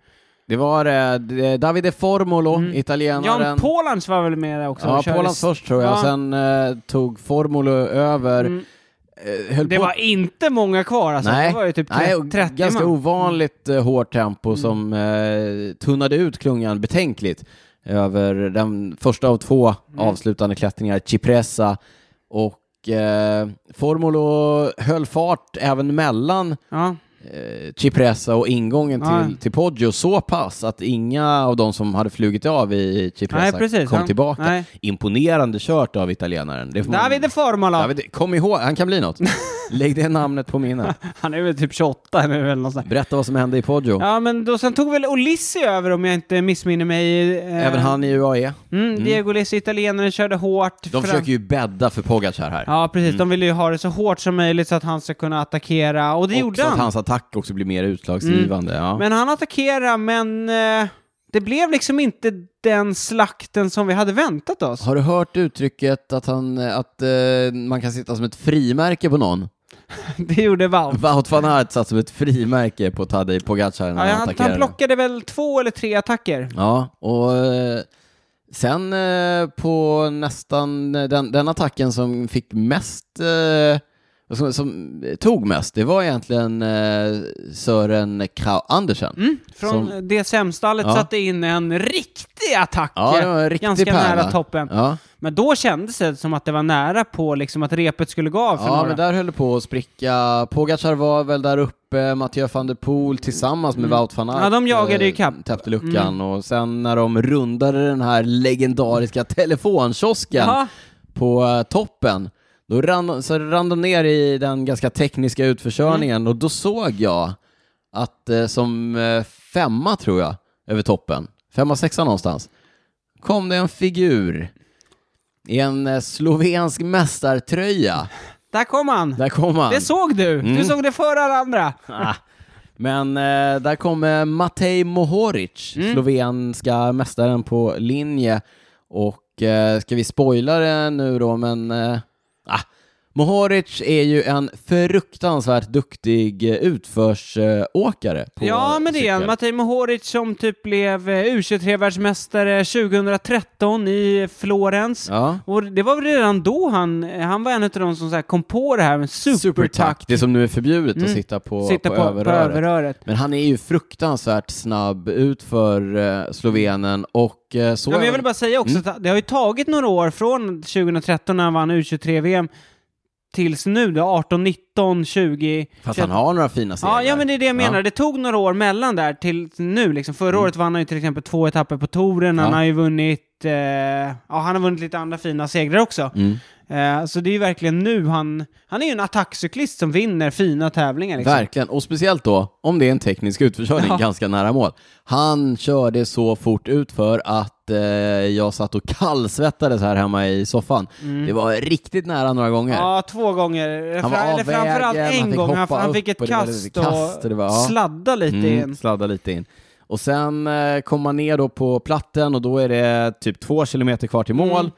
Speaker 1: Det var eh, d- Davide Formolo, italienaren.
Speaker 2: Mm. Jan Polans var väl med där också?
Speaker 1: ja,
Speaker 2: och körde
Speaker 1: Polans
Speaker 2: s-
Speaker 1: först tror jag,
Speaker 2: Ja. Mm.
Speaker 1: sen eh, tog Formolo över. Eh, höll
Speaker 2: Det
Speaker 1: på
Speaker 2: var inte många kvar alltså.
Speaker 1: Nej,
Speaker 2: Det var ju typ
Speaker 1: nej,
Speaker 2: 30
Speaker 1: och ganska
Speaker 2: man. Mm.
Speaker 1: ovanligt eh, hårt tempo som eh, tunnade ut klungan betänkligt över den första av två
Speaker 2: Mm.
Speaker 1: avslutande klättringar, Cipressa, och eh, Formolo höll fart även mellan
Speaker 2: Ja.
Speaker 1: eh, Cipressa och ingången
Speaker 2: Ja.
Speaker 1: till, till Poggio så pass att inga av de som hade flugit av i
Speaker 2: Nej,
Speaker 1: Cipressa
Speaker 2: precis,
Speaker 1: kom
Speaker 2: ja.
Speaker 1: tillbaka.
Speaker 2: Nej.
Speaker 1: Imponerande kört av italienaren. Det får man-
Speaker 2: Davide Formola.
Speaker 1: David, kom ihåg, han kan
Speaker 2: (laughs)
Speaker 1: bli något. Lägg det namnet på minnet.
Speaker 2: Han är väl typ 28 nu eller något sånt.
Speaker 1: Berätta vad som hände i Poggio.
Speaker 2: Ja, men då, sen tog väl Olissi över om jag inte missminner mig. eh,
Speaker 1: Även han i UAE.
Speaker 2: Mm, Diego Olissi, italienaren, körde hårt.
Speaker 1: De
Speaker 2: Fram-
Speaker 1: försöker ju Mm. bädda för Pogacar här.
Speaker 2: Ja, precis. De ville ju ha det så hårt som möjligt så att han ska kunna attackera. Och det
Speaker 1: och
Speaker 2: gjorde
Speaker 1: så att
Speaker 2: han. Mm.
Speaker 1: hans attack också blir mer utslagsgivande. Ja.
Speaker 2: Men han attackerade, men eh, det blev liksom inte den slakten som vi hade väntat oss.
Speaker 1: Har du hört uttrycket att, han, att eh, man kan sitta som ett frimärke på någon?
Speaker 2: (laughs) Det gjorde Wout.
Speaker 1: Wout van Aert satt som ett frimärke på Tadej Pogacar när
Speaker 2: Ja,
Speaker 1: han
Speaker 2: han, han
Speaker 1: attackerade.
Speaker 2: plockade väl två eller tre attacker.
Speaker 1: ja, och eh, sen eh, på nästan eh, den, den attacken som fick mest, eh, som, som tog mest, det var egentligen eh, Sören Krau Andersen.
Speaker 2: Mm, Från det sämstallet
Speaker 1: Ja.
Speaker 2: satte in en riktig attack.
Speaker 1: Ja, det var en riktig
Speaker 2: Ganska
Speaker 1: pärla.
Speaker 2: nära toppen.
Speaker 1: Ja.
Speaker 2: Men då kändes det som att det var nära på liksom att repet skulle gå av för
Speaker 1: Ja,
Speaker 2: några.
Speaker 1: men där höll det på att spricka. Pogacar var väl där uppe, Mathieu van der Poel tillsammans med Wout van Aert.
Speaker 2: Mm. Ja, de jagade ju
Speaker 1: eh,
Speaker 2: kapp. Mm.
Speaker 1: Täppte luckan och sen när de rundade den här legendariska telefonkiosken
Speaker 2: Jaha.
Speaker 1: på eh, toppen, då rann, de- så rann de ner i den ganska tekniska utförkörningen
Speaker 2: Mm.
Speaker 1: och då såg jag att eh, som eh, femma tror jag, över toppen, femma, sexa någonstans, kom det en figur i en eh, slovensk mästartröja.
Speaker 2: Där kom han.
Speaker 1: Där kom han.
Speaker 2: Det såg du.
Speaker 1: Mm.
Speaker 2: Du såg det före alla andra.
Speaker 1: Ah. Men eh, där kom eh, Matej Mohoric,
Speaker 2: Mm.
Speaker 1: slovenska mästaren på linje. Och eh, ska vi spoila det nu då, men... Eh, ah. Mohoric är ju en fruktansvärt duktig eh, utförsåkare på
Speaker 2: ja, men det är han.
Speaker 1: cykel.
Speaker 2: Matej Mohoric som typ blev eh, U23-världsmästare 2013 i Florens.
Speaker 1: Ja.
Speaker 2: Och det var väl redan då han, eh, han var en av de som så här kom på det här med supertakt.
Speaker 1: Det som nu är förbjudet att sitta på,
Speaker 2: Mm. Sitta
Speaker 1: på,
Speaker 2: på, på
Speaker 1: överröret.
Speaker 2: överröret.
Speaker 1: Men han är ju fruktansvärt snabb utför eh, Slovenen och eh, så...
Speaker 2: Ja, men jag
Speaker 1: även-
Speaker 2: vill bara säga också
Speaker 1: Mm.
Speaker 2: att det har ju tagit några år från 2013 när han vann U23-VM tills nu då, 18, 19, 20.
Speaker 1: Fast han har några fina segrar.
Speaker 2: Ja, ja, men det är det jag menar.
Speaker 1: Ja. Mm.
Speaker 2: Det tog några år mellan där till nu. Liksom. Förra året vann han ju till exempel två etapper på touren. Han
Speaker 1: Ja.
Speaker 2: har ju vunnit... Eh, ja, han har vunnit lite andra fina segrar också.
Speaker 1: Mm.
Speaker 2: Eh, så det är ju verkligen nu han... Han är ju en attackcyklist som vinner fina tävlingar. Liksom.
Speaker 1: Verkligen, och speciellt då om det är en teknisk utförsörjning
Speaker 2: (laughs) Ja.
Speaker 1: ganska nära mål. Han körde så fort ut för att eh, jag satt och kallsvettades här hemma i soffan. Det var riktigt nära några gånger.
Speaker 2: Mm. Ja, två gånger.
Speaker 1: Han var
Speaker 2: Fra-
Speaker 1: av
Speaker 2: Eller framförallt
Speaker 1: vägen, han
Speaker 2: en
Speaker 1: fick
Speaker 2: gång. Han,
Speaker 1: hoppa
Speaker 2: han
Speaker 1: upp
Speaker 2: fick ett
Speaker 1: och det var lite
Speaker 2: kast och
Speaker 1: kast och det var- ja. Mm.
Speaker 2: sladda lite in.
Speaker 1: Sladda lite in. Och sen eh, kom man ner då på platten och då är det typ två kilometer kvar till mål.
Speaker 2: Mm.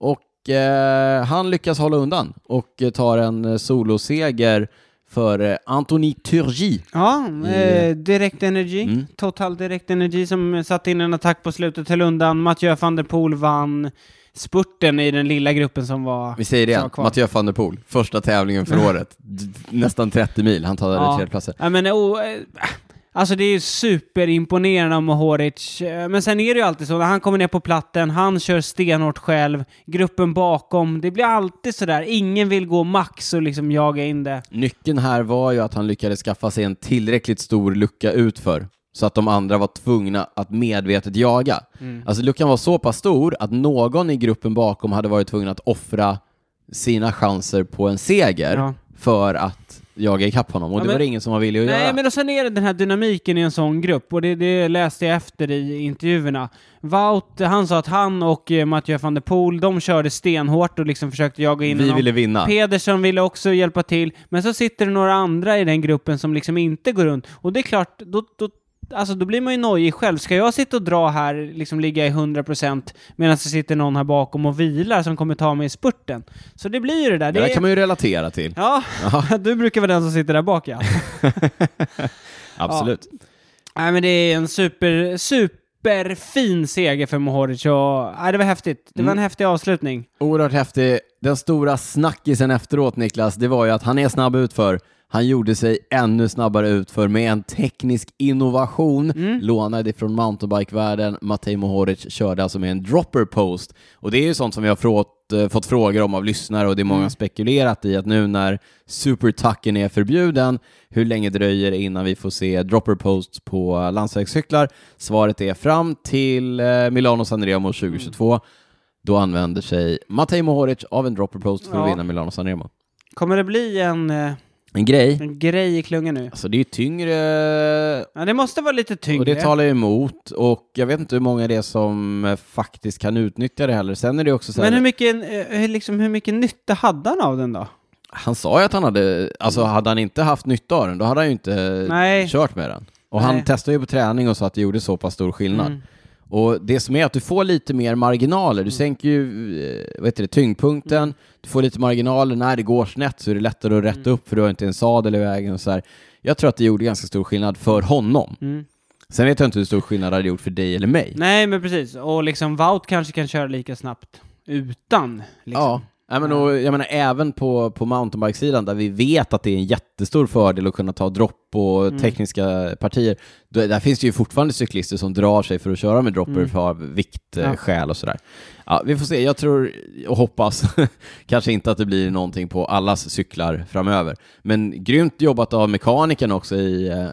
Speaker 1: Och eh, han lyckas hålla undan och eh, tar en eh, soloseger för eh, Anthony Turgi.
Speaker 2: Ja, eh,
Speaker 1: Yeah.
Speaker 2: Direkt Energy.
Speaker 1: Mm.
Speaker 2: Total Direct Energy som satte in en attack på slutet, höll undan. Mathieu van der Poel vann spurten i den lilla gruppen som var...
Speaker 1: Vi säger det igen,
Speaker 2: som var kvar.
Speaker 1: Mathieu van der Poel, första tävlingen
Speaker 2: (laughs)
Speaker 1: för året. D- Nästan 30 mil, han tar
Speaker 2: Ja.
Speaker 1: ja. tredjeplatsen.
Speaker 2: Ja, men, oh, eh, alltså det är ju superimponerande av Mohoric. Eh, Men sen är det ju alltid så, när han kommer ner på platten, han kör stenhårt själv, gruppen bakom, det blir alltid sådär, ingen vill gå max och liksom jaga in det.
Speaker 1: Nyckeln här var ju att han lyckades skaffa sig en tillräckligt stor lucka utför, så att de andra var tvungna att medvetet jaga.
Speaker 2: Mm.
Speaker 1: Alltså luckan var så pass stor att någon i gruppen bakom hade varit tvungen att offra sina chanser på en seger
Speaker 2: Ja.
Speaker 1: för att jaga ikapp honom, och
Speaker 2: Ja,
Speaker 1: det
Speaker 2: men-
Speaker 1: var det ingen som var villig att
Speaker 2: Nej,
Speaker 1: göra.
Speaker 2: men och sen är det den här dynamiken i en sån grupp och det, det läste jag efter i intervjuerna. Wout, han sa att han och eh, Mathieu van der Poel, de körde stenhårt och liksom försökte jaga in
Speaker 1: Vi
Speaker 2: honom.
Speaker 1: ville vinna.
Speaker 2: Pedersen ville också hjälpa till, men så sitter det några andra i den gruppen som liksom inte går runt. Och det är klart, då, då, alltså, då blir man ju nojig själv. Ska jag sitta och dra här, liksom ligga i 100% medan det sitter någon här bakom och vilar som kommer ta mig i spurten? Så det blir ju det där.
Speaker 1: Det
Speaker 2: Det
Speaker 1: där
Speaker 2: är...
Speaker 1: kan man ju relatera till.
Speaker 2: Ja, (laughs) du brukar vara den som sitter där bak ja.
Speaker 1: Absolut.
Speaker 2: Nej, men det är en super, superfin seger för Mohoric och nej, det var häftigt. Det
Speaker 1: Mm.
Speaker 2: var en häftig avslutning.
Speaker 1: Oerhört häftig. Den stora snackisen efteråt, Niklas, det var ju att han är snabb utför. Han gjorde sig ännu snabbare utför med en teknisk innovation, lånad ifrån mountainbikevärlden. Matej Mohoric körde alltså med en dropper post. Och det är ju sånt som vi har frågat, eh, fått frågor om av lyssnare och det är många spekulerat i att nu när supertucken är förbjuden, hur länge dröjer det innan vi får se dropper posts på landsvägscyklar? Svaret är fram till eh, Milano Sanremo 2022. Då använder sig Matej Mohoric av en dropper post för att
Speaker 2: Ja.
Speaker 1: vinna Milano Sanremo.
Speaker 2: Kommer det bli en, eh,
Speaker 1: En grej.
Speaker 2: en grej i klungan nu?
Speaker 1: Alltså det är ju tyngre
Speaker 2: Ja, det måste vara lite tyngre.
Speaker 1: och det talar ju emot och jag vet inte hur många det är som eh, faktiskt kan utnyttja det heller. Sen är det också så här,
Speaker 2: men hur mycket, eh, hur, liksom, hur mycket nytta hade han av den då?
Speaker 1: Eh, han sa ju att han hade, alltså hade han inte haft nytta av den då hade han ju inte
Speaker 2: Nej.
Speaker 1: kört med den. Och
Speaker 2: Nej. Mm.
Speaker 1: han testade ju på träning och sa att det gjorde så pass stor skillnad. Och det som är att du får lite mer marginaler, du sänker ju eh, vad heter det, tyngdpunkten, du får lite marginaler, när det går snett så är det lättare att rätta upp för du har inte en sadel i vägen och så här. Jag tror att det gjorde ganska stor skillnad för honom.
Speaker 2: Mm.
Speaker 1: Sen vet jag inte hur stor skillnad det hade gjort för dig eller mig.
Speaker 2: Nej, men precis. Och liksom Wout kanske kan köra lika snabbt utan. Liksom.
Speaker 1: Ja. Nej, men och, jag menar även på, på mountainbikesidan där vi vet att det är en jättestor fördel att kunna ta dropp och
Speaker 2: Mm.
Speaker 1: tekniska partier. Då, där finns det ju fortfarande cyklister som drar sig för att köra med dropper för av
Speaker 2: Mm. Ja.
Speaker 1: viktskäl och sådär. Ja, vi får se. Jag tror och hoppas (laughs) kanske inte att det blir någonting på allas cyklar framöver. Men grymt jobbat av mekanikern också i eh,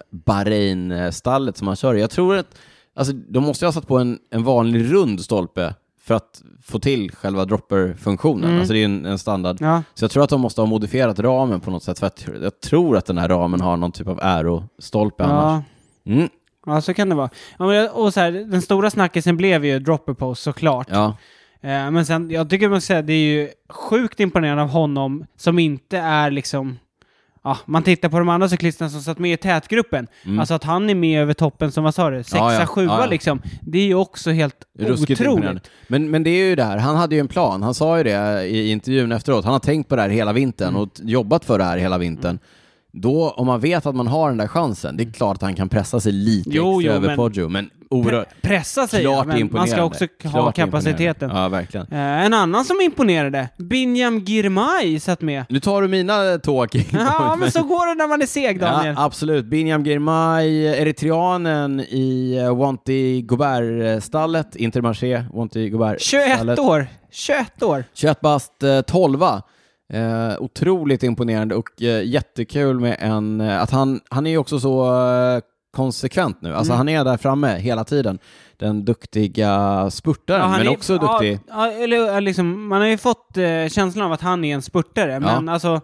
Speaker 1: Bahrain-stallet som han kör i. Jag tror att alltså, de måste ju ha satt på en, en vanlig rund stolpe för att få till själva dropper-funktionen. Alltså det är ju en, en standard.
Speaker 2: Ja.
Speaker 1: Så jag tror att de måste ha modifierat ramen på något sätt. För att jag tror att den här ramen har någon typ av aero-stolpe annars.
Speaker 2: Ja.
Speaker 1: Mm,
Speaker 2: ja, så kan det vara. Ja, men, jag- och så här, den stora snackisen blev ju dropper post såklart.
Speaker 1: ja.
Speaker 2: Eh, Men sen, jag tycker man ska säga, det är ju sjukt imponerande av honom som inte är liksom... Ja, man tittar på de andra cyklisterna som satt med i tätgruppen. Alltså att han är med över toppen som, vad sa du, sexa,
Speaker 1: Mm. Ja, ja.
Speaker 2: sjua
Speaker 1: Ja, ja.
Speaker 2: liksom. Det är ju också helt
Speaker 1: Ruskigt imponerande.
Speaker 2: otroligt.
Speaker 1: Men, men det är ju det här, han hade ju en plan, han sa ju det i intervjun efteråt, han har tänkt på det här hela vintern
Speaker 2: Mm.
Speaker 1: och t- jobbat för det här hela vintern. Då, om man vet att man har den där chansen, det är klart att han kan pressa sig lite
Speaker 2: Mm. Jo,
Speaker 1: extra
Speaker 2: jo,
Speaker 1: över
Speaker 2: men-
Speaker 1: Poggio, men oerhört,
Speaker 2: Pressa sig,
Speaker 1: klart
Speaker 2: men man
Speaker 1: imponerande.
Speaker 2: ska också ha
Speaker 1: Klart
Speaker 2: kapaciteten.
Speaker 1: imponerande. Ja, verkligen.
Speaker 2: Eh, En annan som imponerade, Binyam Girmay
Speaker 1: (laughs)
Speaker 2: satt med.
Speaker 1: Nu tar du mina
Speaker 2: (laughs)
Speaker 1: talking
Speaker 2: Ja,
Speaker 1: points,
Speaker 2: men så går det när man är seg, Daniel.
Speaker 1: Ja, absolut. Binyam Girmay, eritreanen i eh, Wanty Gobert-stallet, Intermarché, Wanty Gobert-stallet.
Speaker 2: 21 år! 21 år!
Speaker 1: 21 bast, eh, 12. Eh, otroligt imponerande och eh, jättekul med en, eh, att han, han är ju också så eh, konsekvent nu.
Speaker 2: Mm.
Speaker 1: Alltså han är där framme hela tiden. Den duktiga spurtaren, men
Speaker 2: är-
Speaker 1: också duktig.
Speaker 2: Ja, ja, eller, eh, liksom, man har ju fått eh, känslan av att han är en spurtare, men alltså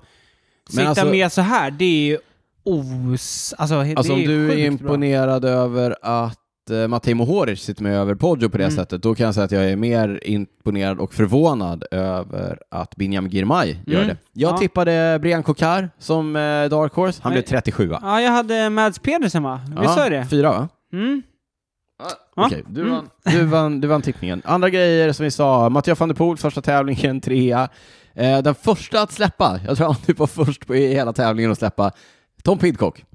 Speaker 2: sitta
Speaker 1: alltså-
Speaker 2: med så här, det är ju os... Alltså, he-
Speaker 1: Alltså
Speaker 2: det
Speaker 1: om
Speaker 2: är
Speaker 1: du är
Speaker 2: sjukt bra.
Speaker 1: imponerad över att eh, Matteo Mohoric sitter med över Poggio på det
Speaker 2: Mm.
Speaker 1: sättet, då kan jag säga att jag är mer imponerad och förvånad över att Binyam Girmay gör
Speaker 2: Mm.
Speaker 1: det. Jag
Speaker 2: Ja.
Speaker 1: tippade Brian Kokar som eh, Dark Horse, han
Speaker 2: Nej.
Speaker 1: blev 37 va?
Speaker 2: Ja, jag hade Mads Pedersen va? Visst
Speaker 1: Ja,
Speaker 2: sa jag det?
Speaker 1: Fyra va?
Speaker 2: Mm. Ja. Mm.
Speaker 1: Okej, du, vann, du, vann, du vann tippningen. Andra grejer som vi sa, Mattias van der Poel, första tävlingen, trea. Eh, den första att släppa, jag tror han typ var först på i hela tävlingen att släppa, Tom Pidcock.
Speaker 2: (laughs)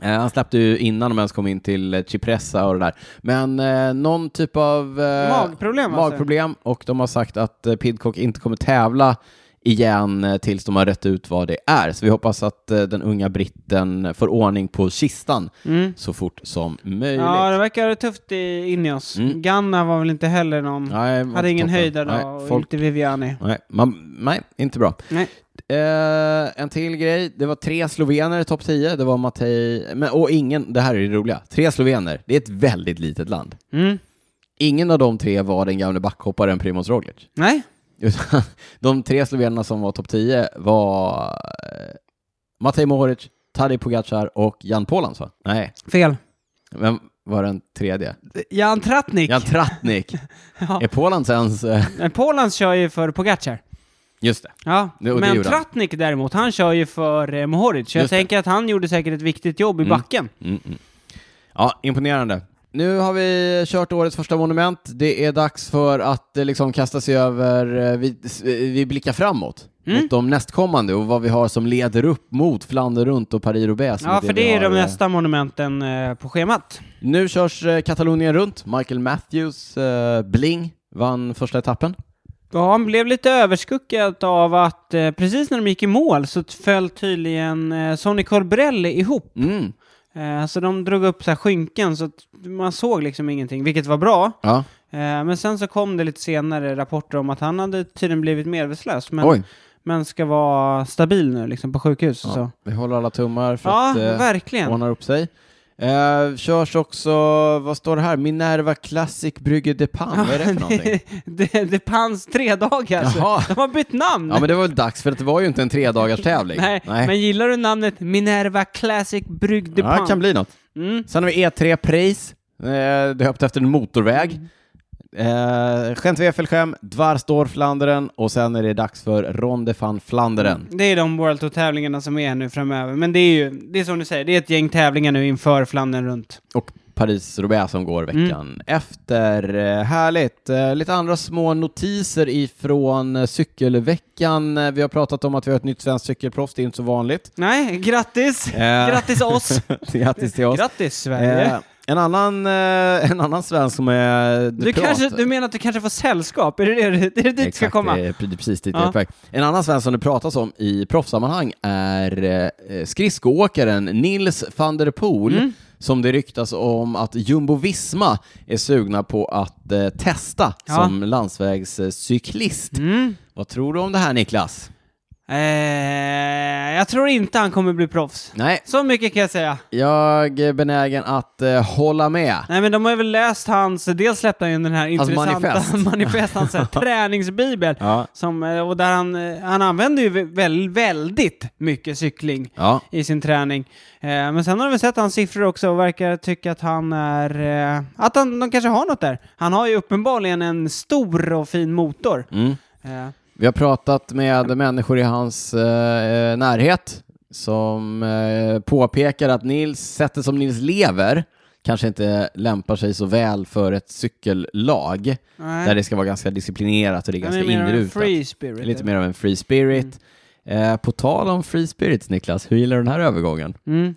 Speaker 1: Eh, Han släppte ju innan de ens kom in till eh, Cipressa och det där. Men eh, någon typ av eh,
Speaker 2: Magproblem, alltså.
Speaker 1: magproblem och de har sagt att eh, Pidcock inte kommer tävla igen eh, tills de har rätt ut vad det är. Så vi hoppas att eh, den unga britten får ordning på kistan
Speaker 2: Mm.
Speaker 1: så fort som möjligt.
Speaker 2: Ja, det verkar tufft i Ineos.
Speaker 1: Mm.
Speaker 2: Ghana var väl inte heller någon...
Speaker 1: Nej, var
Speaker 2: hade
Speaker 1: inte
Speaker 2: ingen
Speaker 1: toppen.
Speaker 2: höjdare
Speaker 1: Nej,
Speaker 2: och
Speaker 1: folk-
Speaker 2: inte Viviani.
Speaker 1: Nej, man, nej, inte bra.
Speaker 2: Nej.
Speaker 1: Eh, en till grej, det var tre slovener i topp 10, det var Matej, men, och ingen, det här är det roliga, tre slovener, det är ett väldigt litet land.
Speaker 2: Mm.
Speaker 1: Ingen av de tre var den gamle backhopparen Primoz Roglic. (laughs)
Speaker 2: Nej.
Speaker 1: Utan de tre slovenerna som var topp 10 var eh, Matej Mohoric, Tadej Pogacar och Jan Polans va? Nej,
Speaker 2: Fel.
Speaker 1: vem var den tredje?
Speaker 2: Jan Tratnik.
Speaker 1: Jan Tratnik.
Speaker 2: (laughs) Ja.
Speaker 1: Är Polans ens... eh,
Speaker 2: Men Polans kör ju för Pogacar.
Speaker 1: Just det.
Speaker 2: Ja,
Speaker 1: Det- och det
Speaker 2: men
Speaker 1: gjorde han.
Speaker 2: Tratnik däremot, han kör ju för eh, Mohoric. Så jag
Speaker 1: Just det.
Speaker 2: tänker att han gjorde säkert ett viktigt jobb i backen.
Speaker 1: Mm, mm. Ja, imponerande. Nu har vi kört årets första monument. Det är dags för att eh, liksom kasta sig över, eh, vi, s- eh, vi blickar framåt
Speaker 2: Mm.
Speaker 1: mot de nästkommande och vad vi har som leder upp mot Flandern runt och Paris-Roubaix. som
Speaker 2: Ja, för
Speaker 1: vi
Speaker 2: det är
Speaker 1: har,
Speaker 2: de
Speaker 1: eh,
Speaker 2: nästa monumenten eh, på schemat.
Speaker 1: Nu körs eh, Katalonien runt. Michael Matthews, eh, Bling, vann första etappen.
Speaker 2: Ja, han blev lite överskuggad av att eh, precis när de gick i mål så t- föll tydligen eh, Sonny Colbrelli ihop.
Speaker 1: Mm.
Speaker 2: Eh, så de drog upp så här skynken så att man såg liksom ingenting, vilket var bra.
Speaker 1: Ja.
Speaker 2: Eh, men sen så kom det lite senare rapporter om att han hade tydligen blivit medvetslös. Men,
Speaker 1: Oj,
Speaker 2: men ska vara stabil nu liksom på sjukhus och så.
Speaker 1: ja. vi håller alla tummar för
Speaker 2: Ja,
Speaker 1: att eh,
Speaker 2: verkligen.
Speaker 1: ordnar upp sig. Eh, körs också, vad står det här? Minerva Classic Brygge de Pan. vad är det för någonting?
Speaker 2: det, det fanns tre dagar. alltså.
Speaker 1: Jaha.
Speaker 2: De har bytt namn.
Speaker 1: Ja men det var väl dags för att det var ju inte en tredagars tävling.
Speaker 2: Nej, men gillar du namnet Minerva Classic Brygg de
Speaker 1: ja,
Speaker 2: Pan?
Speaker 1: det kan bli något.
Speaker 2: Mm.
Speaker 1: Sen har vi E3 Pris, eh, döpt efter en motorväg. Eh, Gent-Wefelgem, Dvarstor Flandern och sen är det dags för Ronde van Flandern.
Speaker 2: Det är de World Tour-tävlingarna som är nu framöver. Men det är ju, det är som du säger, det är ett gäng tävlingar nu inför Flandern runt.
Speaker 1: Och Paris-Roubaix som går
Speaker 2: Mm.
Speaker 1: veckan efter. Eh, Härligt! Eh, Lite andra små notiser ifrån eh, cykelveckan. Eh, Vi har pratat om att vi har ett nytt svenskt cykelproffs, det är inte så vanligt.
Speaker 2: Nej, grattis!
Speaker 1: Eh.
Speaker 2: Grattis oss!
Speaker 1: (laughs) Grattis till oss!
Speaker 2: Grattis Sverige!
Speaker 1: Eh, en, annan, eh, en annan svensk som är...
Speaker 2: du, kanske, du menar att du kanske får sällskap? Är det, det, du- är det dit du ska
Speaker 1: Exakt,
Speaker 2: komma?
Speaker 1: Det är pre- precis dit
Speaker 2: Ja.
Speaker 1: jag är på väg. En annan svensk som det pratas om i proffssammanhang är eh, skridskoåkaren Nils van der Poel,
Speaker 2: Mm.
Speaker 1: som det ryktas om att Jumbo Visma är sugna på att eh, testa
Speaker 2: Ja.
Speaker 1: som landsvägscyklist.
Speaker 2: Mm.
Speaker 1: Vad tror du om det här Niklas?
Speaker 2: Eh, jag tror inte han kommer bli proffs.
Speaker 1: Nej,
Speaker 2: Så mycket kan jag säga.
Speaker 1: jag är benägen att eh, hålla med.
Speaker 2: Nej men de har väl läst hans, dels släppte han ju den här
Speaker 1: Hans
Speaker 2: intressanta
Speaker 1: manifest.
Speaker 2: (laughs) manifest, hans
Speaker 1: (laughs)
Speaker 2: så här träningsbibel.
Speaker 1: Ja.
Speaker 2: Som, eh, och där han, eh, han använder ju vä- väl, väldigt mycket cykling
Speaker 1: Ja.
Speaker 2: i sin träning. Eh, men sen har vi sett hans siffror också och verkar tycka att han är, eh, att han, de kanske har något där. Han har ju uppenbarligen en stor och fin motor.
Speaker 1: Mm.
Speaker 2: Eh,
Speaker 1: Vi har pratat med människor i hans eh, närhet som eh, påpekar att Nils, sättet som Nils lever kanske inte lämpar sig så väl för ett cykellag
Speaker 2: nej.
Speaker 1: där det ska vara ganska disciplinerat och det är
Speaker 2: Han
Speaker 1: ganska
Speaker 2: är mer av en
Speaker 1: inrutat.
Speaker 2: free spirit.
Speaker 1: Lite mer av en free spirit. Eh, på tal om free spirits, Niklas, hur gillar du den här övergången?
Speaker 2: Mm.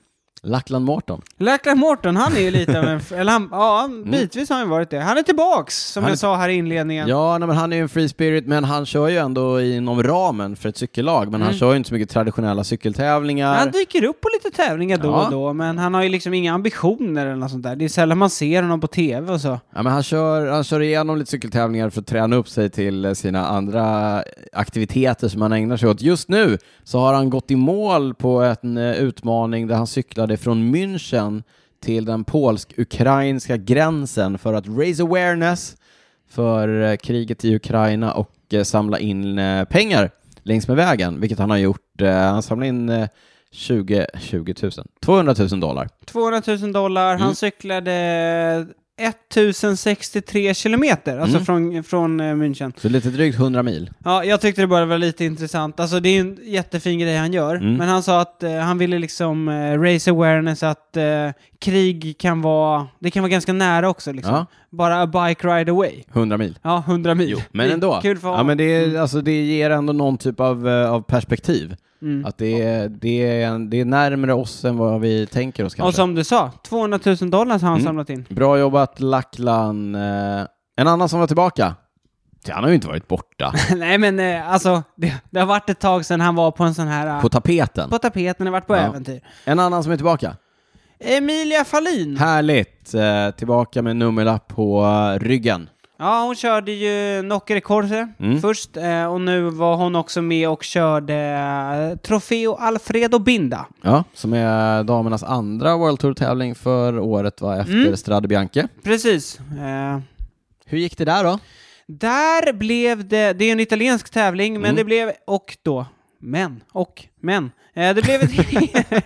Speaker 1: Lackland Morton.
Speaker 2: Lachlan Morton, han är ju lite av en...
Speaker 1: (laughs)
Speaker 2: Eller han, ja, bitvis har han ju varit det. Han är tillbaks, som
Speaker 1: Mm. Han
Speaker 2: jag
Speaker 1: är-
Speaker 2: sa här i inledningen.
Speaker 1: Ja, nej, men han är ju en free spirit, men han kör ju ändå inom ramen för ett cykellag, men
Speaker 2: Mm.
Speaker 1: han kör ju inte så mycket traditionella cykeltävlingar.
Speaker 2: Han dyker upp på lite tävlingar då
Speaker 1: Ja.
Speaker 2: och då, men han har ju liksom inga ambitioner eller något sånt där. Det är sällan man ser honom på tv och så.
Speaker 1: Ja, men han, kör, han kör igenom lite cykeltävlingar för att träna upp sig till eh, sina andra aktiviteter som han ägnar sig åt. Just nu så har han gått i mål på en eh, utmaning där han cyklade från München till den polsk-ukrainska gränsen för att raise awareness för eh, kriget i Ukraina och eh, samla in eh, pengar längs med vägen, vilket han har gjort. Eh, Han samlade in eh, 20, 20 000, 200 000 dollar.
Speaker 2: 200 000 dollar,
Speaker 1: Mm.
Speaker 2: han cyklade 1063 kilometer, alltså
Speaker 1: Mm.
Speaker 2: från, från eh, München.
Speaker 1: Så lite drygt 100 mil.
Speaker 2: Ja, jag tyckte det bara var lite intressant. Alltså det är ju en jättefin grej han gör,
Speaker 1: Mm.
Speaker 2: men han sa att eh, han ville liksom eh, raise awareness att eh, krig kan vara, det kan vara ganska nära också liksom.
Speaker 1: Ja.
Speaker 2: Bara a bike ride away.
Speaker 1: 100 mil.
Speaker 2: Ja, 100 mil.
Speaker 1: Jo, men
Speaker 2: Det är
Speaker 1: ändå.
Speaker 2: Kul för
Speaker 1: ja, men det, är, alltså, det ger ändå någon typ av, eh, av perspektiv.
Speaker 2: Mm.
Speaker 1: Att det är, det, är en, det är närmare oss än vad vi tänker oss kanske. Mm.
Speaker 2: Och som du sa, 200 000 dollar har han samlat in. (laughs)
Speaker 1: Bra jobbat Lacklan. Eh, En annan som var tillbaka. Ja, Han har ju inte varit
Speaker 2: (laughs)
Speaker 1: borta
Speaker 2: Nej men eh, alltså, det, det har varit ett tag sedan han var på en sån här... eh,
Speaker 1: på tapeten.
Speaker 2: på tapeten, har varit på
Speaker 1: Ja.
Speaker 2: äventyr.
Speaker 1: En annan som är tillbaka.
Speaker 2: Emilia Fahlin.
Speaker 1: Härligt! Eh, Tillbaka med nummerlapp på eh, ryggen.
Speaker 2: Ja, hon körde ju Nockere Corse
Speaker 1: Mm.
Speaker 2: först eh, och nu var hon också med och körde eh, Trofeo Alfredo Binda.
Speaker 1: Ja, som är damernas andra World Tour-tävling för året va, efter
Speaker 2: Mm.
Speaker 1: Strade Bianche.
Speaker 2: Precis. Eh,
Speaker 1: Hur gick det där då?
Speaker 2: där blev det, det är en italiensk tävling, men
Speaker 1: Mm.
Speaker 2: det blev, och då, men, och, men. Eh, det blev ett,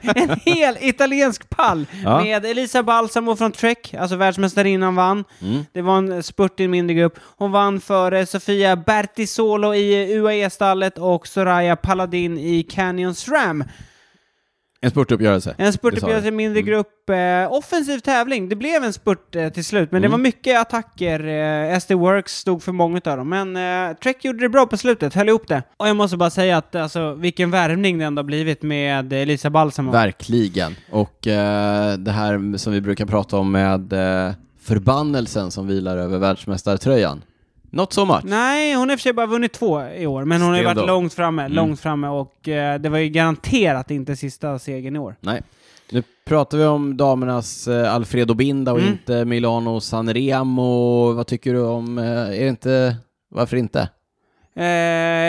Speaker 2: en (laughs) hel italiensk pall
Speaker 1: Ja.
Speaker 2: med Elisa Balsamo från Trek, alltså världsmästarinnan vann.
Speaker 1: Mm.
Speaker 2: Det var en spurt i en mindre grupp. Hon vann före Sofia Bertisolo i UAE-stallet och Soraya Paladin i Canyon SRAM.
Speaker 1: En spurtuppgörelse.
Speaker 2: En
Speaker 1: Det sa
Speaker 2: spurtuppgörelse
Speaker 1: du. Mm.
Speaker 2: i mindre grupp. Eh, offensiv tävling. Det blev en spurt eh, till slut, men det
Speaker 1: Mm.
Speaker 2: var mycket attacker. Eh, SD Works stod för många av dem, men eh, Trek gjorde det bra på slutet, höll ihop det. Och jag måste bara säga att alltså, vilken värvning det ändå har blivit med Elisa Balsamo.
Speaker 1: Verkligen. Och eh, det här som vi brukar prata om med eh, förbannelsen som vilar över världsmästartröjan. Not so much.
Speaker 2: Nej, hon har i och för sig bara vunnit två i år, men hon har ju
Speaker 1: Still
Speaker 2: varit
Speaker 1: though.
Speaker 2: långt framme, långt framme och eh, det var ju garanterat inte sista segern i år.
Speaker 1: Nej. Nu pratar vi om damernas eh, Alfredo Binda och
Speaker 2: Mm.
Speaker 1: inte Milano Sanremo. Vad tycker du om, eh, är det inte, varför
Speaker 2: (laughs)
Speaker 1: inte?
Speaker 2: Eh,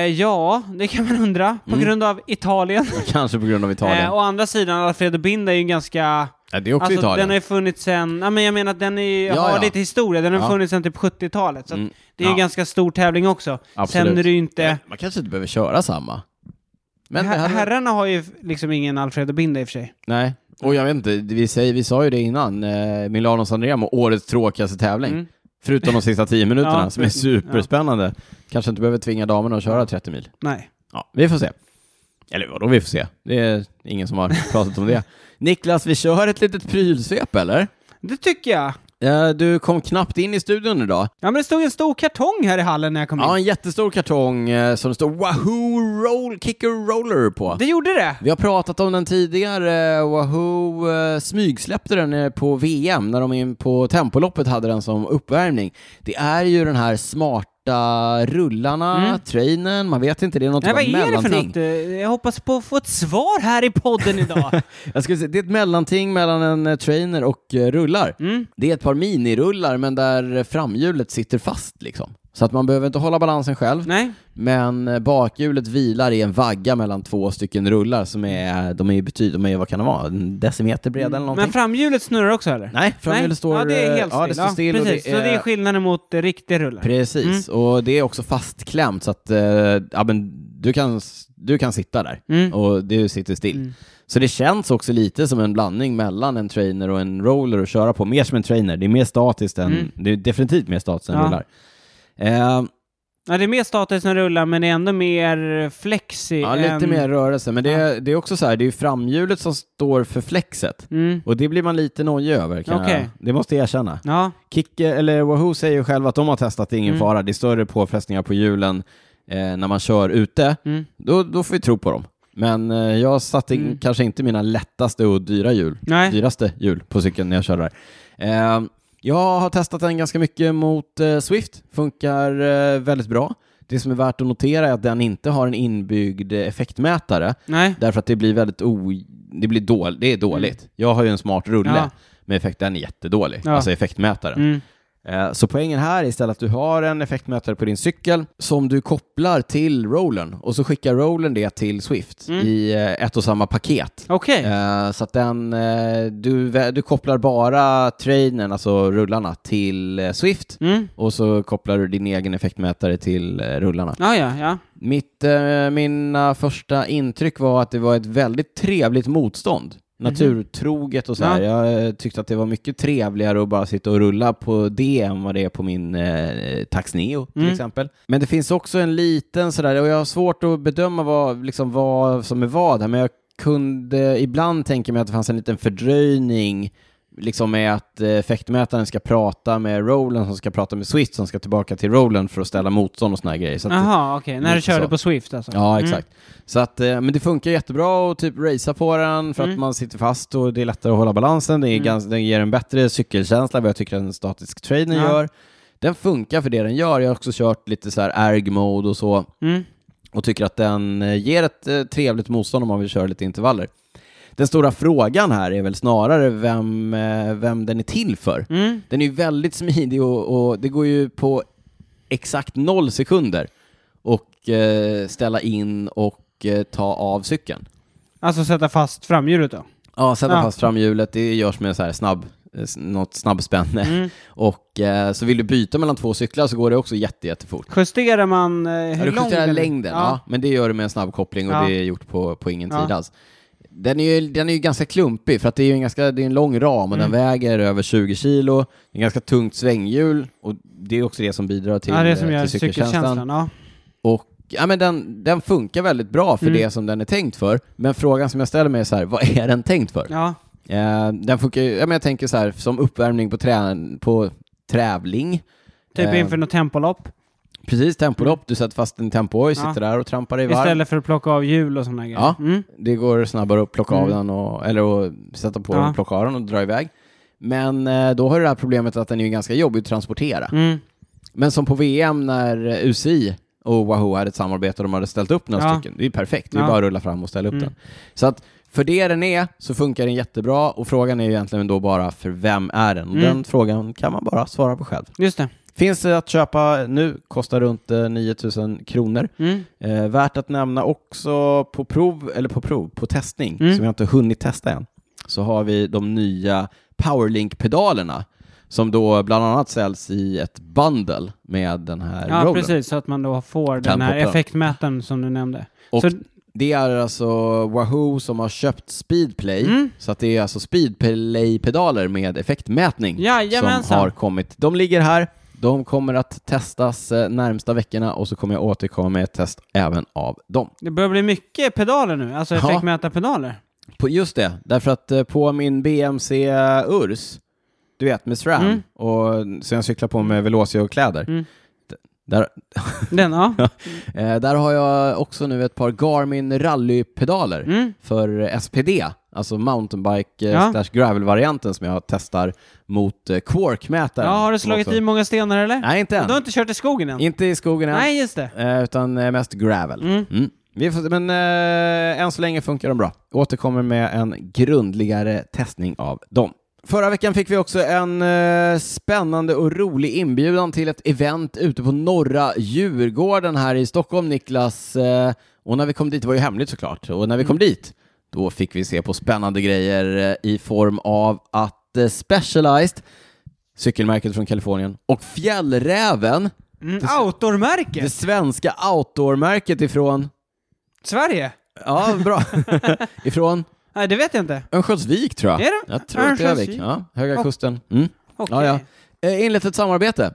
Speaker 2: ja, det kan man undra, på
Speaker 1: Mm.
Speaker 2: grund av Italien.
Speaker 1: Kanske på grund av Italien.
Speaker 2: Eh, å andra sidan, Alfredo Binda är ju en ganska...
Speaker 1: ja, det är också
Speaker 2: Alltså,
Speaker 1: Italien.
Speaker 2: den har ju funnits sen... Ja, men jag menar att den är, ju-
Speaker 1: Ja,
Speaker 2: har
Speaker 1: ja.
Speaker 2: lite historia, den har
Speaker 1: Ja.
Speaker 2: funnits sen typ 70-talet. Så att
Speaker 1: Mm.
Speaker 2: det är ju
Speaker 1: Ja.
Speaker 2: en ganska stor tävling också.
Speaker 1: Absolut.
Speaker 2: Sen är det ju inte...
Speaker 1: Man kanske inte behöver köra samma. Men
Speaker 2: Her-
Speaker 1: det här-
Speaker 2: Herrarna har ju liksom ingen Alfredo Binda i och för sig.
Speaker 1: Nej, och jag vet inte, vi, säger, vi sa ju det innan, eh, Milano Sanremo, årets tråkigaste tävling.
Speaker 2: Mm.
Speaker 1: Förutom de sista tio minuterna
Speaker 2: Ja,
Speaker 1: som är
Speaker 2: precis.
Speaker 1: superspännande. Kanske inte behöver tvinga damerna att köra 30 mil.
Speaker 2: Nej.
Speaker 1: Ja, vi får se. Eller vadå vi får se? Det är ingen som har pratat om
Speaker 2: (laughs)
Speaker 1: det. Niklas, vi kör ett litet prylsvep eller?
Speaker 2: Det tycker jag.
Speaker 1: Eh, Du kom knappt in i studion idag.
Speaker 2: Ja, men det stod en stor kartong här i hallen när jag kom
Speaker 1: Ja,
Speaker 2: in.
Speaker 1: en jättestor kartong eh, som det står Wahoo Roll Kicker Roller på.
Speaker 2: Det gjorde det.
Speaker 1: Vi har pratat om den tidigare. Wahoo eh, smygsläppte den eh, på VM när de in på Tempoloppet hade den som uppvärmning. Det är ju den här smarta rullarna, trainen, man vet inte, det är något
Speaker 2: Mm. Nej,
Speaker 1: typ
Speaker 2: vad
Speaker 1: av
Speaker 2: är det för
Speaker 1: mellanting.
Speaker 2: något? Eh, Jag hoppas på att få ett svar här i
Speaker 1: (laughs)
Speaker 2: podden idag.
Speaker 1: Jag skulle säga, det är ett mellanting mellan en eh, trainer och eh, rullar.
Speaker 2: Mm.
Speaker 1: Det är ett par minirullar men där eh, framhjulet sitter fast liksom. Så att man behöver inte hålla balansen själv,
Speaker 2: Nej.
Speaker 1: men eh, bakhjulet vilar i en vagga mellan två stycken rullar som är, de är betyd, de är, vad kan de vara, en decimeter breda eller någonting.
Speaker 2: Mm. Men framhjulet snurrar också eller?
Speaker 1: Nej, framhjulet står... eh,
Speaker 2: Ja, det är helt
Speaker 1: ja, det står still och
Speaker 2: Precis,
Speaker 1: det
Speaker 2: så
Speaker 1: är-
Speaker 2: det är Mm. skillnaden mot eh, riktiga rullar.
Speaker 1: Precis, och det är också fastklämt så att eh, ja, men du, kan, s- du kan sitta där
Speaker 2: Mm.
Speaker 1: och du sitter still.
Speaker 2: Mm.
Speaker 1: Så det känns också lite som en blandning mellan en trainer och en roller att köra på. Mer som en trainer, det är mer statiskt än,
Speaker 2: Mm.
Speaker 1: det är definitivt mer statiskt än
Speaker 2: Ja.
Speaker 1: rullar. Eh,
Speaker 2: Ja, det är mer status än rullar, men det är ändå mer flexi.
Speaker 1: ja, lite
Speaker 2: än...
Speaker 1: mer rörelse, men det, är- det är också så här, det är ju framhjulet som står för flexet.
Speaker 2: Mm.
Speaker 1: Och det blir man lite nojig över, kan jag,
Speaker 2: Okej.
Speaker 1: det måste jag erkänna.
Speaker 2: Ja,
Speaker 1: Kick, eller Wahoo säger ju själva att de har testat, det är ingen
Speaker 2: Mm.
Speaker 1: fara, det är större påfrestningar på hjulen eh, när man kör ute.
Speaker 2: mm.
Speaker 1: Då, då får vi tro på dem. Men eh, jag satte in
Speaker 2: Mm.
Speaker 1: kanske inte mina lättaste och dyra hjul,
Speaker 2: Nej.
Speaker 1: dyraste hjul på cykeln när jag körde där. Eh, jag har testat den ganska mycket mot eh, Swift, funkar eh, väldigt bra. Det som är värt att notera är att den inte har en inbyggd eh, effektmätare,
Speaker 2: Nej.
Speaker 1: därför att det blir väldigt o... Det, blir då... det är dåligt. Jag har ju en smart rulle
Speaker 2: Mm. Ja.
Speaker 1: med effekt, den är jättedålig,
Speaker 2: Ja.
Speaker 1: alltså effektmätaren.
Speaker 2: Mm.
Speaker 1: Eh, Så poängen här är istället att du har en effektmätare på din cykel som du kopplar till rollen och så skickar rollen det till Swift
Speaker 2: Mm.
Speaker 1: i eh, ett och samma paket.
Speaker 2: Okej.
Speaker 1: Eh, Så att den, eh, du, vä- du kopplar bara trainern, alltså rullarna, till eh, Swift
Speaker 2: Mm.
Speaker 1: och så kopplar du din egen effektmätare till eh, rullarna.
Speaker 2: Ja, ja, ja.
Speaker 1: Mitt, eh, mina första intryck var att det var ett väldigt trevligt motstånd. Naturtroget och så här. Jag eh, tyckte att det var mycket trevligare att bara sitta och rulla på det än vad det är på min eh, Taxneo till
Speaker 2: Mm.
Speaker 1: exempel. Men det finns också en liten sådär, och jag har svårt att bedöma vad, liksom, vad som är vad här, men jag kunde ibland tänka mig att det fanns en liten fördröjning liksom med att eh, effektmätaren ska prata med Roland som ska prata med Swift som ska tillbaka till Roland för att ställa motorn och såna här grejer. Så att det,
Speaker 2: Jaha, okej. När du
Speaker 1: lite
Speaker 2: körde
Speaker 1: så.
Speaker 2: på Swift alltså?
Speaker 1: ja,
Speaker 2: Mm.
Speaker 1: exakt. Så att, eh, men det funkar jättebra att typ racea på den för att
Speaker 2: Mm.
Speaker 1: man sitter fast och det är lättare att hålla balansen. Det är
Speaker 2: Mm.
Speaker 1: gans, den ger en bättre cykelkänsla än vad jag tycker en statisk trainer
Speaker 2: Ja.
Speaker 1: gör. Den funkar för det den gör. Jag har också kört lite så här erg-mode och så
Speaker 2: Mm.
Speaker 1: och tycker att den eh, ger ett eh, trevligt motstånd om man vill köra lite intervaller. Den stora frågan här är väl snarare vem, eh, vem den är till för.
Speaker 2: Mm.
Speaker 1: Den är ju väldigt smidig och, och det går ju på exakt noll sekunder och eh, ställa in och eh, ta av cykeln.
Speaker 2: Alltså sätta fast
Speaker 1: (laughs)
Speaker 2: framhjulet då?
Speaker 1: Ja, sätta
Speaker 2: Ja.
Speaker 1: fast framhjulet, det görs med så här snabb, eh, s- något snabbspänne.
Speaker 2: Mm.
Speaker 1: Och eh, så vill du byta mellan två cyklar så går det också jätte, jättefort.
Speaker 2: Justerar man eh, hur
Speaker 1: Ja, du
Speaker 2: lång
Speaker 1: justerar
Speaker 2: den är?
Speaker 1: längden, ja. men det gör du med en snabb koppling och
Speaker 2: Ja.
Speaker 1: det är gjort på, på ingen
Speaker 2: Ja.
Speaker 1: tid alls. Den är, ju, den är ju ganska klumpig för att det är ju en, ganska, det är en lång ram och
Speaker 2: Mm.
Speaker 1: den väger över 20 kilo. Det är en ganska tungt svänghjul och det är också det som bidrar till,
Speaker 2: ja, det är som
Speaker 1: eh,
Speaker 2: gör
Speaker 1: till cykelkänslan.
Speaker 2: cykelkänslan. Ja.
Speaker 1: Och ja, men den, den funkar väldigt bra för
Speaker 2: Mm.
Speaker 1: det som den är tänkt för. Men frågan som jag ställer mig är så här, vad är den tänkt för?
Speaker 2: Ja.
Speaker 1: Eh, den funkar ju, ja, men jag tänker så här, som uppvärmning på, trä, på tävling.
Speaker 2: Typ
Speaker 1: Eh,
Speaker 2: inför något tempolopp.
Speaker 1: Precis, tempolopp. Du sätter fast en tempohoj,
Speaker 2: Mm. Ja.
Speaker 1: sitter där och trampar dig varm.
Speaker 2: Istället för att plocka av hjul och sådana grejer.
Speaker 1: Ja.
Speaker 2: Mm.
Speaker 1: Det går snabbare att plocka av
Speaker 2: Mm.
Speaker 1: den, och, eller att sätta på
Speaker 2: Ja.
Speaker 1: den och plocka av den och dra iväg. Men eh, då har du det här problemet att den är ju ganska jobbig att transportera.
Speaker 2: Mm.
Speaker 1: Men som på VM när eh, UCI och Wahoo hade ett samarbete och de hade ställt upp några
Speaker 2: Ja.
Speaker 1: stycken. Det är ju perfekt, det är
Speaker 2: Ja.
Speaker 1: bara att rulla fram och ställa upp
Speaker 2: Mm.
Speaker 1: den. Så att för det den är så funkar den jättebra och frågan är ju egentligen då bara för vem är den? Och
Speaker 2: Mm.
Speaker 1: Den frågan kan man bara svara på själv.
Speaker 2: Just det.
Speaker 1: Finns det att köpa nu, kostar runt eh, 9000 kronor.
Speaker 2: Mm.
Speaker 1: Eh, värt att nämna också på prov, eller på prov, på testning,
Speaker 2: Mm.
Speaker 1: som jag inte hunnit testa än, så har vi de nya Powerlink-pedalerna som då bland annat säljs i ett bundle med den här
Speaker 2: Ja,
Speaker 1: rollen.
Speaker 2: precis. Så att man då får den
Speaker 1: Kan
Speaker 2: här
Speaker 1: poppa.
Speaker 2: effektmätaren som du nämnde.
Speaker 1: Och
Speaker 2: så,
Speaker 1: Det är alltså Wahoo som har köpt Speedplay,
Speaker 2: Mm.
Speaker 1: så att det är alltså Speedplay-pedaler med effektmätning som
Speaker 2: Jajamensan.
Speaker 1: har kommit. De ligger här, de kommer att testas eh, närmsta veckorna och så kommer jag återkomma med ett test även av dem.
Speaker 2: det börjar bli mycket pedaler nu. Alltså
Speaker 1: Ja.
Speaker 2: effektmätarpedaler.
Speaker 1: På, just det, därför att eh, på min BMC Urs, du vet med SRAM,
Speaker 2: Mm.
Speaker 1: och, som jag cyklar på med Velocio-kläder,
Speaker 2: Mm.
Speaker 1: d- där,
Speaker 2: Den, ja.
Speaker 1: eh, där har jag också nu ett par Garmin rallypedaler
Speaker 2: Mm.
Speaker 1: för eh, SPD, alltså mountainbike eh,
Speaker 2: Ja.
Speaker 1: slash gravel-varianten som jag testar mot eh,
Speaker 2: ja.
Speaker 1: Quark-mätaren.
Speaker 2: Har du
Speaker 1: som
Speaker 2: slagit
Speaker 1: också-
Speaker 2: i många stenar eller?
Speaker 1: Nej, inte än.
Speaker 2: Du har inte kört i skogen än?
Speaker 1: Inte i skogen än,
Speaker 2: Nej, just det.
Speaker 1: eh, utan eh, mest gravel.
Speaker 2: Mm.
Speaker 1: Mm. Vi får, se, men eh, än så länge funkar de bra. Återkommer med en grundligare testning av dem. Förra veckan fick vi också en eh, spännande och rolig inbjudan till ett event ute på Norra Djurgården här i Stockholm, Niklas. Eh, och när vi kom dit, det var ju hemligt såklart, och när vi kom dit då fick vi se på spännande grejer eh, i form av att eh, Specialized, cykelmärket från Kalifornien, och Fjällräven,
Speaker 2: Mm. Outdoor-märke?
Speaker 1: det svenska outdoor-märket ifrån
Speaker 2: Sverige?
Speaker 1: Ja,
Speaker 2: (laughs)
Speaker 1: bra. Ifrån
Speaker 2: Nej, det vet jag inte.
Speaker 1: Örnsköldsvik tror jag.
Speaker 2: Är det?
Speaker 1: Jag tror att det är Örnsköldsvik.
Speaker 2: Örnsköldsvik.
Speaker 1: Ja, Höga
Speaker 2: Ja.
Speaker 1: Kusten. Mm.
Speaker 2: Okej.
Speaker 1: Ja, ja. Eh, Inlett ett samarbete.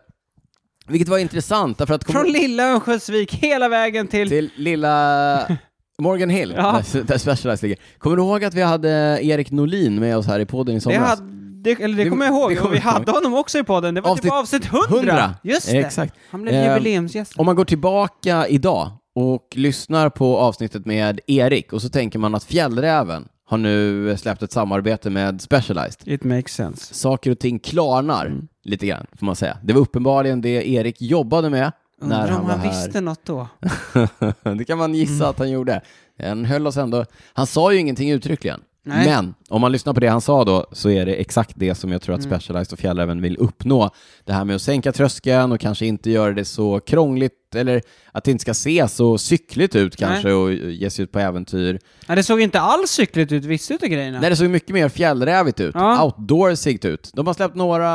Speaker 1: Vilket var intressant därför att...
Speaker 2: Från lilla Örnsköldsvik hela vägen till...
Speaker 1: till
Speaker 2: (laughs)
Speaker 1: lilla Morgan Hill,
Speaker 2: Ja.
Speaker 1: där, där Specialized ligger. Kommer du ihåg att vi hade Erik Norlin med oss här i podden i
Speaker 2: det,
Speaker 1: somras?
Speaker 2: hade, det, eller det
Speaker 1: Det-
Speaker 2: kommer jag ihåg,
Speaker 1: det kommer
Speaker 2: och vi
Speaker 1: jag ihåg.
Speaker 2: hade honom också i podden. Det var typ avsnitt 100!
Speaker 1: 100.
Speaker 2: Just det.
Speaker 1: Exakt.
Speaker 2: Han blev
Speaker 1: Eh,
Speaker 2: jubileumsgäst.
Speaker 1: Om man går tillbaka idag och lyssnar på avsnittet med Erik och så tänker man att Fjällräven har nu släppt ett samarbete med Specialized.
Speaker 2: It makes sense.
Speaker 1: saker och ting klarnar
Speaker 2: Mm.
Speaker 1: lite grann, får man säga. Det var uppenbarligen det Erik jobbade med när
Speaker 2: Undrar
Speaker 1: han
Speaker 2: om
Speaker 1: var
Speaker 2: han
Speaker 1: här.
Speaker 2: visste Mm. något då.
Speaker 1: (laughs)
Speaker 2: (laughs)
Speaker 1: det kan man gissa att han gjorde. Han höll oss ändå... Han sa ju ingenting uttryckligen.
Speaker 2: Nej.
Speaker 1: Men om man lyssnar på det han sa då så är det exakt det som jag tror att
Speaker 2: Mm.
Speaker 1: Specialized och Fjällräven vill uppnå. Det här med att sänka tröskeln och kanske inte göra det så krångligt eller att det inte ska se så cykligt ut kanske och ge sig ut på äventyr.
Speaker 2: Nej, det såg inte alls cykligt ut, vissa utav grejerna.
Speaker 1: Nej, det såg mycket mer fjällrävigt ut.
Speaker 2: Ja.
Speaker 1: Outdoorsigt ut. De har släppt några,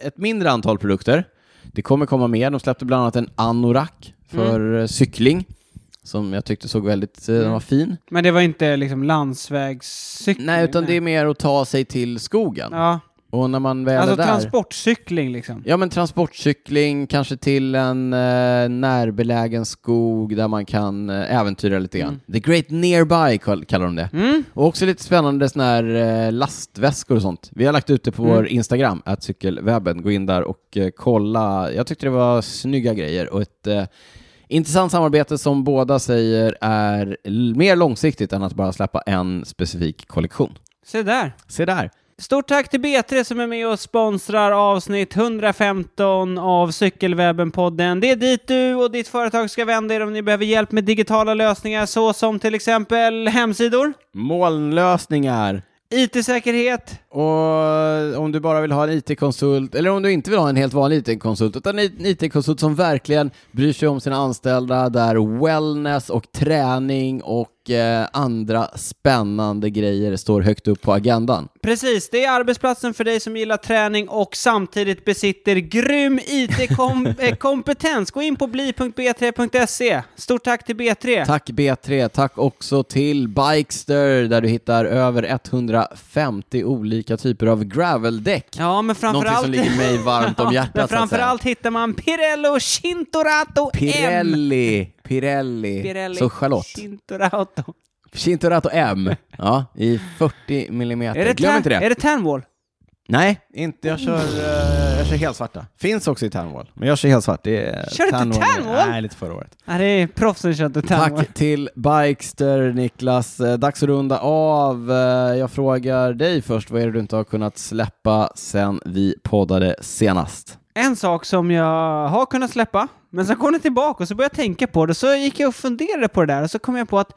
Speaker 1: ett mindre antal produkter. Det kommer komma mer. De släppte bland annat en anorak för
Speaker 2: Mm.
Speaker 1: eh, cykling, som jag tyckte såg väldigt eh, den var fin.
Speaker 2: Men det var inte liksom landsvägscykel?
Speaker 1: Nej, utan det är mer att ta sig till skogen.
Speaker 2: Ja,
Speaker 1: Och när man väl
Speaker 2: Alltså
Speaker 1: är där...
Speaker 2: transportcykling liksom.
Speaker 1: Ja, men transportcykling, kanske till en eh, närbelägen skog där man kan eh, äventyra lite grann. The Great Nearby kall- kallar de det.
Speaker 2: Mm.
Speaker 1: Och också lite spännande såna här eh, lastväskor och sånt. Vi har lagt ut det på vår Instagram, att cykelwebben. Gå in där och eh, kolla. Jag tyckte det var snygga grejer och ett eh, intressant samarbete som båda säger är l- mer långsiktigt än att bara släppa en specifik kollektion.
Speaker 2: Se där.
Speaker 1: Se där!
Speaker 2: Stort tack till B3 som är med och sponsrar avsnitt 115 av Cykelwebben-podden. Det är dit du och ditt företag ska vända er om ni behöver hjälp med digitala lösningar såsom till exempel hemsidor,
Speaker 1: Molnlösningar!
Speaker 2: IT-säkerhet,
Speaker 1: Och om du bara vill ha en IT-konsult, eller om du inte vill ha en helt vanlig IT-konsult, utan en IT-konsult som verkligen bryr sig om sina anställda, där wellness och träning och eh, andra spännande grejer står högt upp på agendan.
Speaker 2: Precis, det är arbetsplatsen för dig som gillar träning och samtidigt besitter grym
Speaker 1: (laughs)
Speaker 2: IT-kompetens. Gå in på bli.b3.se. Stort tack till B3.
Speaker 1: Tack B3, tack också till Bikester där du hittar över 150 olika typer av graveldäck.
Speaker 2: Ja, men
Speaker 1: Någonting
Speaker 2: framförallt...
Speaker 1: som ligger mig varmt
Speaker 2: (laughs)
Speaker 1: om hjärtat. så
Speaker 2: men
Speaker 1: att säga.
Speaker 2: framförallt hittar man Pirello Cinturato M.
Speaker 1: Pirelli, Pirelli,
Speaker 2: Pirelli
Speaker 1: så Charlotte.
Speaker 2: Cinturato.
Speaker 1: Shintorato M, ja, i 40 millimeter.
Speaker 2: Är det,
Speaker 1: Glöm inte det.
Speaker 2: är det Ternwall?
Speaker 1: Nej, inte. Jag kör, eh, jag kör helsvarta. Finns också i Ternwall, men jag kör helsvart. Det är
Speaker 2: Kör du inte Ternwall?
Speaker 1: Nej, lite förra året.
Speaker 2: Nej, det är proffsen som köpte Ternwall.
Speaker 1: Tack till Bikester, Niklas. Eh, Dags att runda av. Eh, Jag frågar dig först, vad är det du inte har kunnat släppa sen vi poddade senast?
Speaker 2: En sak som jag har kunnat släppa, men sen kom det tillbaka och så började jag tänka på det, så gick jag och funderade på det där och så kom jag på att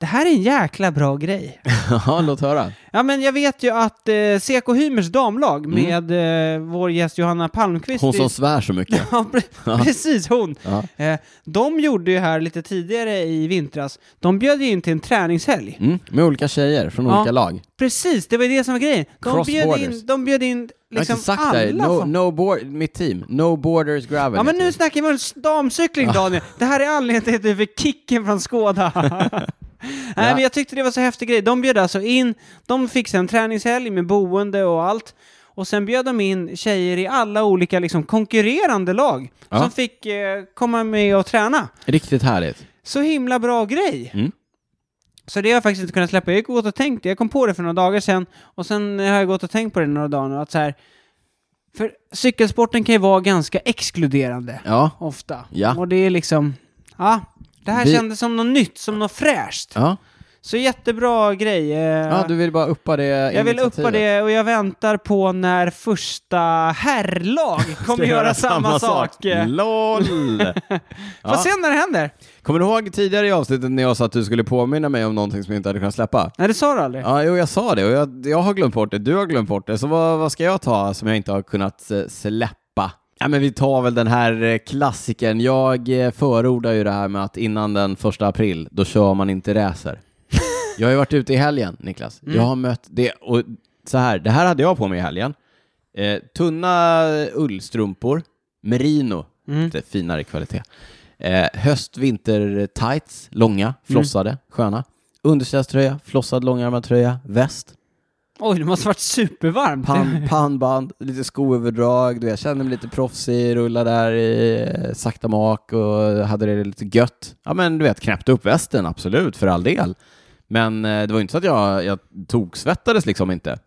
Speaker 2: det här är en jäkla bra grej.
Speaker 1: (laughs) Ja, låt höra.
Speaker 2: Ja, men jag vet ju att eh, CK Hymers damlag med eh, vår gäst Johanna Palmqvist.
Speaker 1: Mm. Hon som
Speaker 2: i-
Speaker 1: svär så mycket.
Speaker 2: (laughs) Ja, pre- precis hon.
Speaker 1: (laughs) Ja.
Speaker 2: Eh, de gjorde ju här lite tidigare i vintras, de bjöd ju in till en träningshelg.
Speaker 1: Mm, med olika tjejer från
Speaker 2: Ja.
Speaker 1: olika lag.
Speaker 2: Precis, det var ju det som var grejen. De
Speaker 1: Cross
Speaker 2: bjöd
Speaker 1: borders.
Speaker 2: in, de bjöd in
Speaker 1: Jag har
Speaker 2: liksom
Speaker 1: inte sagt
Speaker 2: alla.
Speaker 1: det. No,
Speaker 2: från-
Speaker 1: no board, mitt team. No borders gravel.
Speaker 2: Ja men
Speaker 1: heter
Speaker 2: nu
Speaker 1: det.
Speaker 2: snackar vi om damcykling Daniel. Det här är anledningen till att du fick kicken
Speaker 1: (laughs)
Speaker 2: från Skåda. (laughs) Nej men jag tyckte det var så häftig grej. De bjöd alltså in, de fixade en träningshelg med boende och allt. Och sen bjöd de in tjejer i alla olika liksom, konkurrerande lag
Speaker 1: Ja.
Speaker 2: som fick eh, komma med och träna.
Speaker 1: Riktigt härligt.
Speaker 2: Så himla bra grej!
Speaker 1: Mm.
Speaker 2: Så det har jag faktiskt inte kunnat släppa. Jag gick åt och tänkte, jag kom på det för några dagar sedan och sen har jag gått och tänkt på det några dagar nu att så här, för cykelsporten kan ju vara ganska exkluderande
Speaker 1: Ja.
Speaker 2: ofta.
Speaker 1: Ja.
Speaker 2: Och det är liksom, ja, det här
Speaker 1: Vi-
Speaker 2: kändes som något nytt, som något fräscht.
Speaker 1: Ja.
Speaker 2: Så jättebra grej. eh.
Speaker 1: Ja, du vill bara uppa det
Speaker 2: jag vill
Speaker 1: initiativet.
Speaker 2: uppa det och jag väntar på när första
Speaker 1: (laughs)
Speaker 2: herrlag kommer göra samma sak. Får
Speaker 1: LOL! Ja.
Speaker 2: se när det händer.
Speaker 1: (laughs) Kommer du ihåg tidigare i avsnittet när jag sa att du skulle påminna mig om någonting som jag inte hade kunnat släppa?
Speaker 2: Nej, det sa du aldrig.
Speaker 1: Ja, jo, jag sa det och jag, jag har glömt bort det. Du har glömt bort det. Så vad, vad ska jag ta som jag inte har kunnat eh, släppa? Ja, men vi tar väl den här eh, klassiken. Jag eh, förordar ju det här med att innan den första april, då kör man inte racer. Jag har ju varit ute i helgen, Niklas. Jag har mött det och så här, det här hade jag på mig i helgen. Eh, tunna ullstrumpor, merino, lite finare kvalitet. Eh, Höst-vinter-tights, långa, flossade, sköna. Underställströja, flossad långärmad tröja, väst,
Speaker 2: Oj, det måste varit supervarmt. (laughs)
Speaker 1: pan, pannband, lite skoöverdrag. Du, vet, jag kände mig lite proffsig, rullade där i eh, sakta mak och hade det lite gött. Ja men du vet, knäppte upp västen, absolut, för all del. Men eh, det var ju inte så att jag, jag toksvettades liksom inte.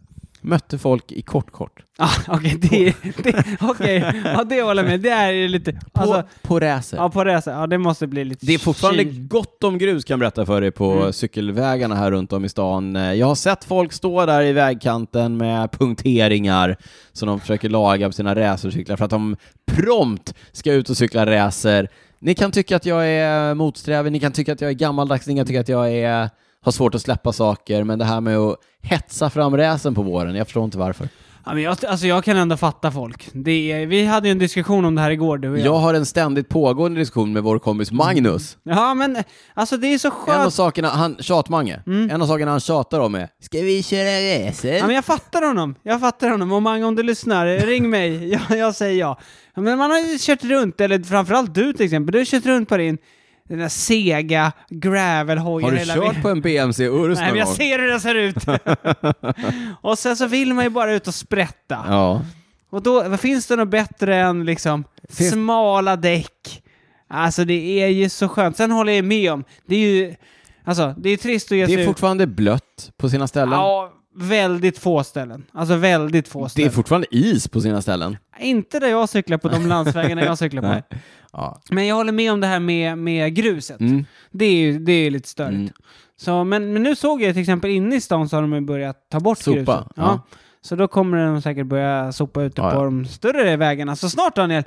Speaker 1: Mötte folk i kort kort.
Speaker 2: Ah, Okej, det, det, okay. ja, det håller jag med. Det är ju lite...
Speaker 1: På,
Speaker 2: Alltså,
Speaker 1: på racer.
Speaker 2: ja, på resa. Ja, det måste bli lite...
Speaker 1: Det är fortfarande
Speaker 2: kyl.
Speaker 1: gott om grus kan jag berätta för dig på cykelvägarna här runt om i stan. Eh, Jag har sett folk stå där i vägkanten med punkteringar som de försöker laga på sina racercyklar för att de prompt ska ut och cykla racer. Ni kan tycka att jag är motsträvig, ni kan tycka att jag är gammaldags, ni kan tycka att jag är, har svårt att släppa saker, men det här med att hetsa fram racen på våren, jag förstår inte varför.
Speaker 2: Ja, men jag, alltså, jag kan ändå fatta folk. Det är, vi hade ju en diskussion om det här igår, du och jag.
Speaker 1: Jag har en ständigt pågående diskussion med vår kompis Magnus
Speaker 2: Ja, men alltså det är så
Speaker 1: En av
Speaker 2: skönt. Mm.
Speaker 1: sakerna han, tjatmange, en av sakerna han tjatar om är Ska vi köra
Speaker 2: Ja,
Speaker 1: racer?
Speaker 2: men jag fattar honom. Jag fattar honom. Och Mange, om du lyssnar, ring mig. (laughs) Jag, jag säger ja. ja. Men man har ju kört runt, eller framförallt du till exempel, du har kört runt på din den där sega gravelhojen
Speaker 1: Har du
Speaker 2: hela
Speaker 1: kört
Speaker 2: vi-
Speaker 1: på en BMC Urus
Speaker 2: Nej, men
Speaker 1: någon
Speaker 2: jag
Speaker 1: gång?
Speaker 2: ser hur det
Speaker 1: (laughs)
Speaker 2: ser ut. och sen så vill man ju bara ut och sprätta.
Speaker 1: Ja.
Speaker 2: Och då, vad finns det något bättre än liksom
Speaker 1: Finns-
Speaker 2: smala däck? Alltså det är ju så skönt. Sen håller jag med om, det är ju, alltså det är trist att ge
Speaker 1: Det
Speaker 2: sig
Speaker 1: är
Speaker 2: ut.
Speaker 1: fortfarande blött på sina ställen.
Speaker 2: Ja, väldigt få ställen. Alltså väldigt få
Speaker 1: det
Speaker 2: ställen.
Speaker 1: är fortfarande is på sina ställen.
Speaker 2: Inte där jag cyklar på de landsvägarna jag cyklar
Speaker 1: (laughs)
Speaker 2: på.
Speaker 1: Nej. Ja.
Speaker 2: Men jag håller med om det här med, med gruset. Det är ju det är ju lite störigt.
Speaker 1: Mm.
Speaker 2: Så, men, men nu såg jag till exempel inne i stan så har de ju börjat ta bort
Speaker 1: Sopa,
Speaker 2: gruset.
Speaker 1: ja.
Speaker 2: Så då kommer de säkert börja sopa ute
Speaker 1: Ja,
Speaker 2: på
Speaker 1: ja.
Speaker 2: de större vägarna. Så snart Daniel.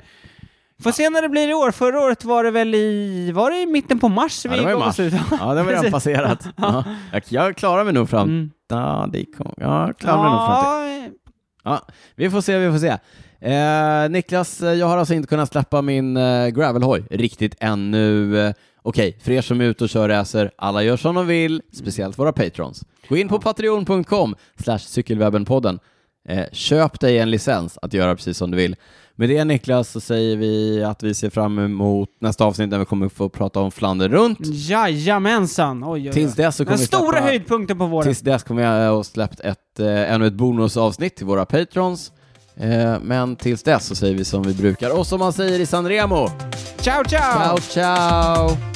Speaker 2: Får se när det blir i år. Förra året var det väl i, var det i mitten på mars vi
Speaker 1: Ja, det var i
Speaker 2: gav
Speaker 1: mars.
Speaker 2: oss ut?
Speaker 1: Ja, det var redan
Speaker 2: Precis. (laughs)
Speaker 1: passerat. Ja. Jag, jag klarar mig nog fram.
Speaker 2: Mm.
Speaker 1: Ja, det kom. Jag klarar mig nog fram till.
Speaker 2: Ja,
Speaker 1: Ja, vi får se, vi får se. Eh, Niklas, eh, jag har alltså inte kunnat släppa min eh, gravelhoj riktigt ännu. Eh, Okej, för er som är ute och kör racer, alla gör som de vill, speciellt våra patrons. Gå in på patreon.com slash cykelwebbenpodden. Eh, köp dig en licens att göra precis som du vill. Med det Niklas så säger vi att vi ser fram emot nästa avsnitt när vi kommer få prata om Flandern runt.
Speaker 2: jajamensan. Oj, oj, oj.
Speaker 1: Tills dess så kommer
Speaker 2: Den
Speaker 1: vi släppa-
Speaker 2: stora höjdpunkten på våren.
Speaker 1: Tills dess kommer jag att ha släppt ett, eh, ännu ett bonusavsnitt till våra patrons. Eh, men tills dess så säger vi som vi brukar och som man säger i Sanremo.
Speaker 2: Ciao,
Speaker 1: Ciao,
Speaker 2: ciao!
Speaker 1: ciao!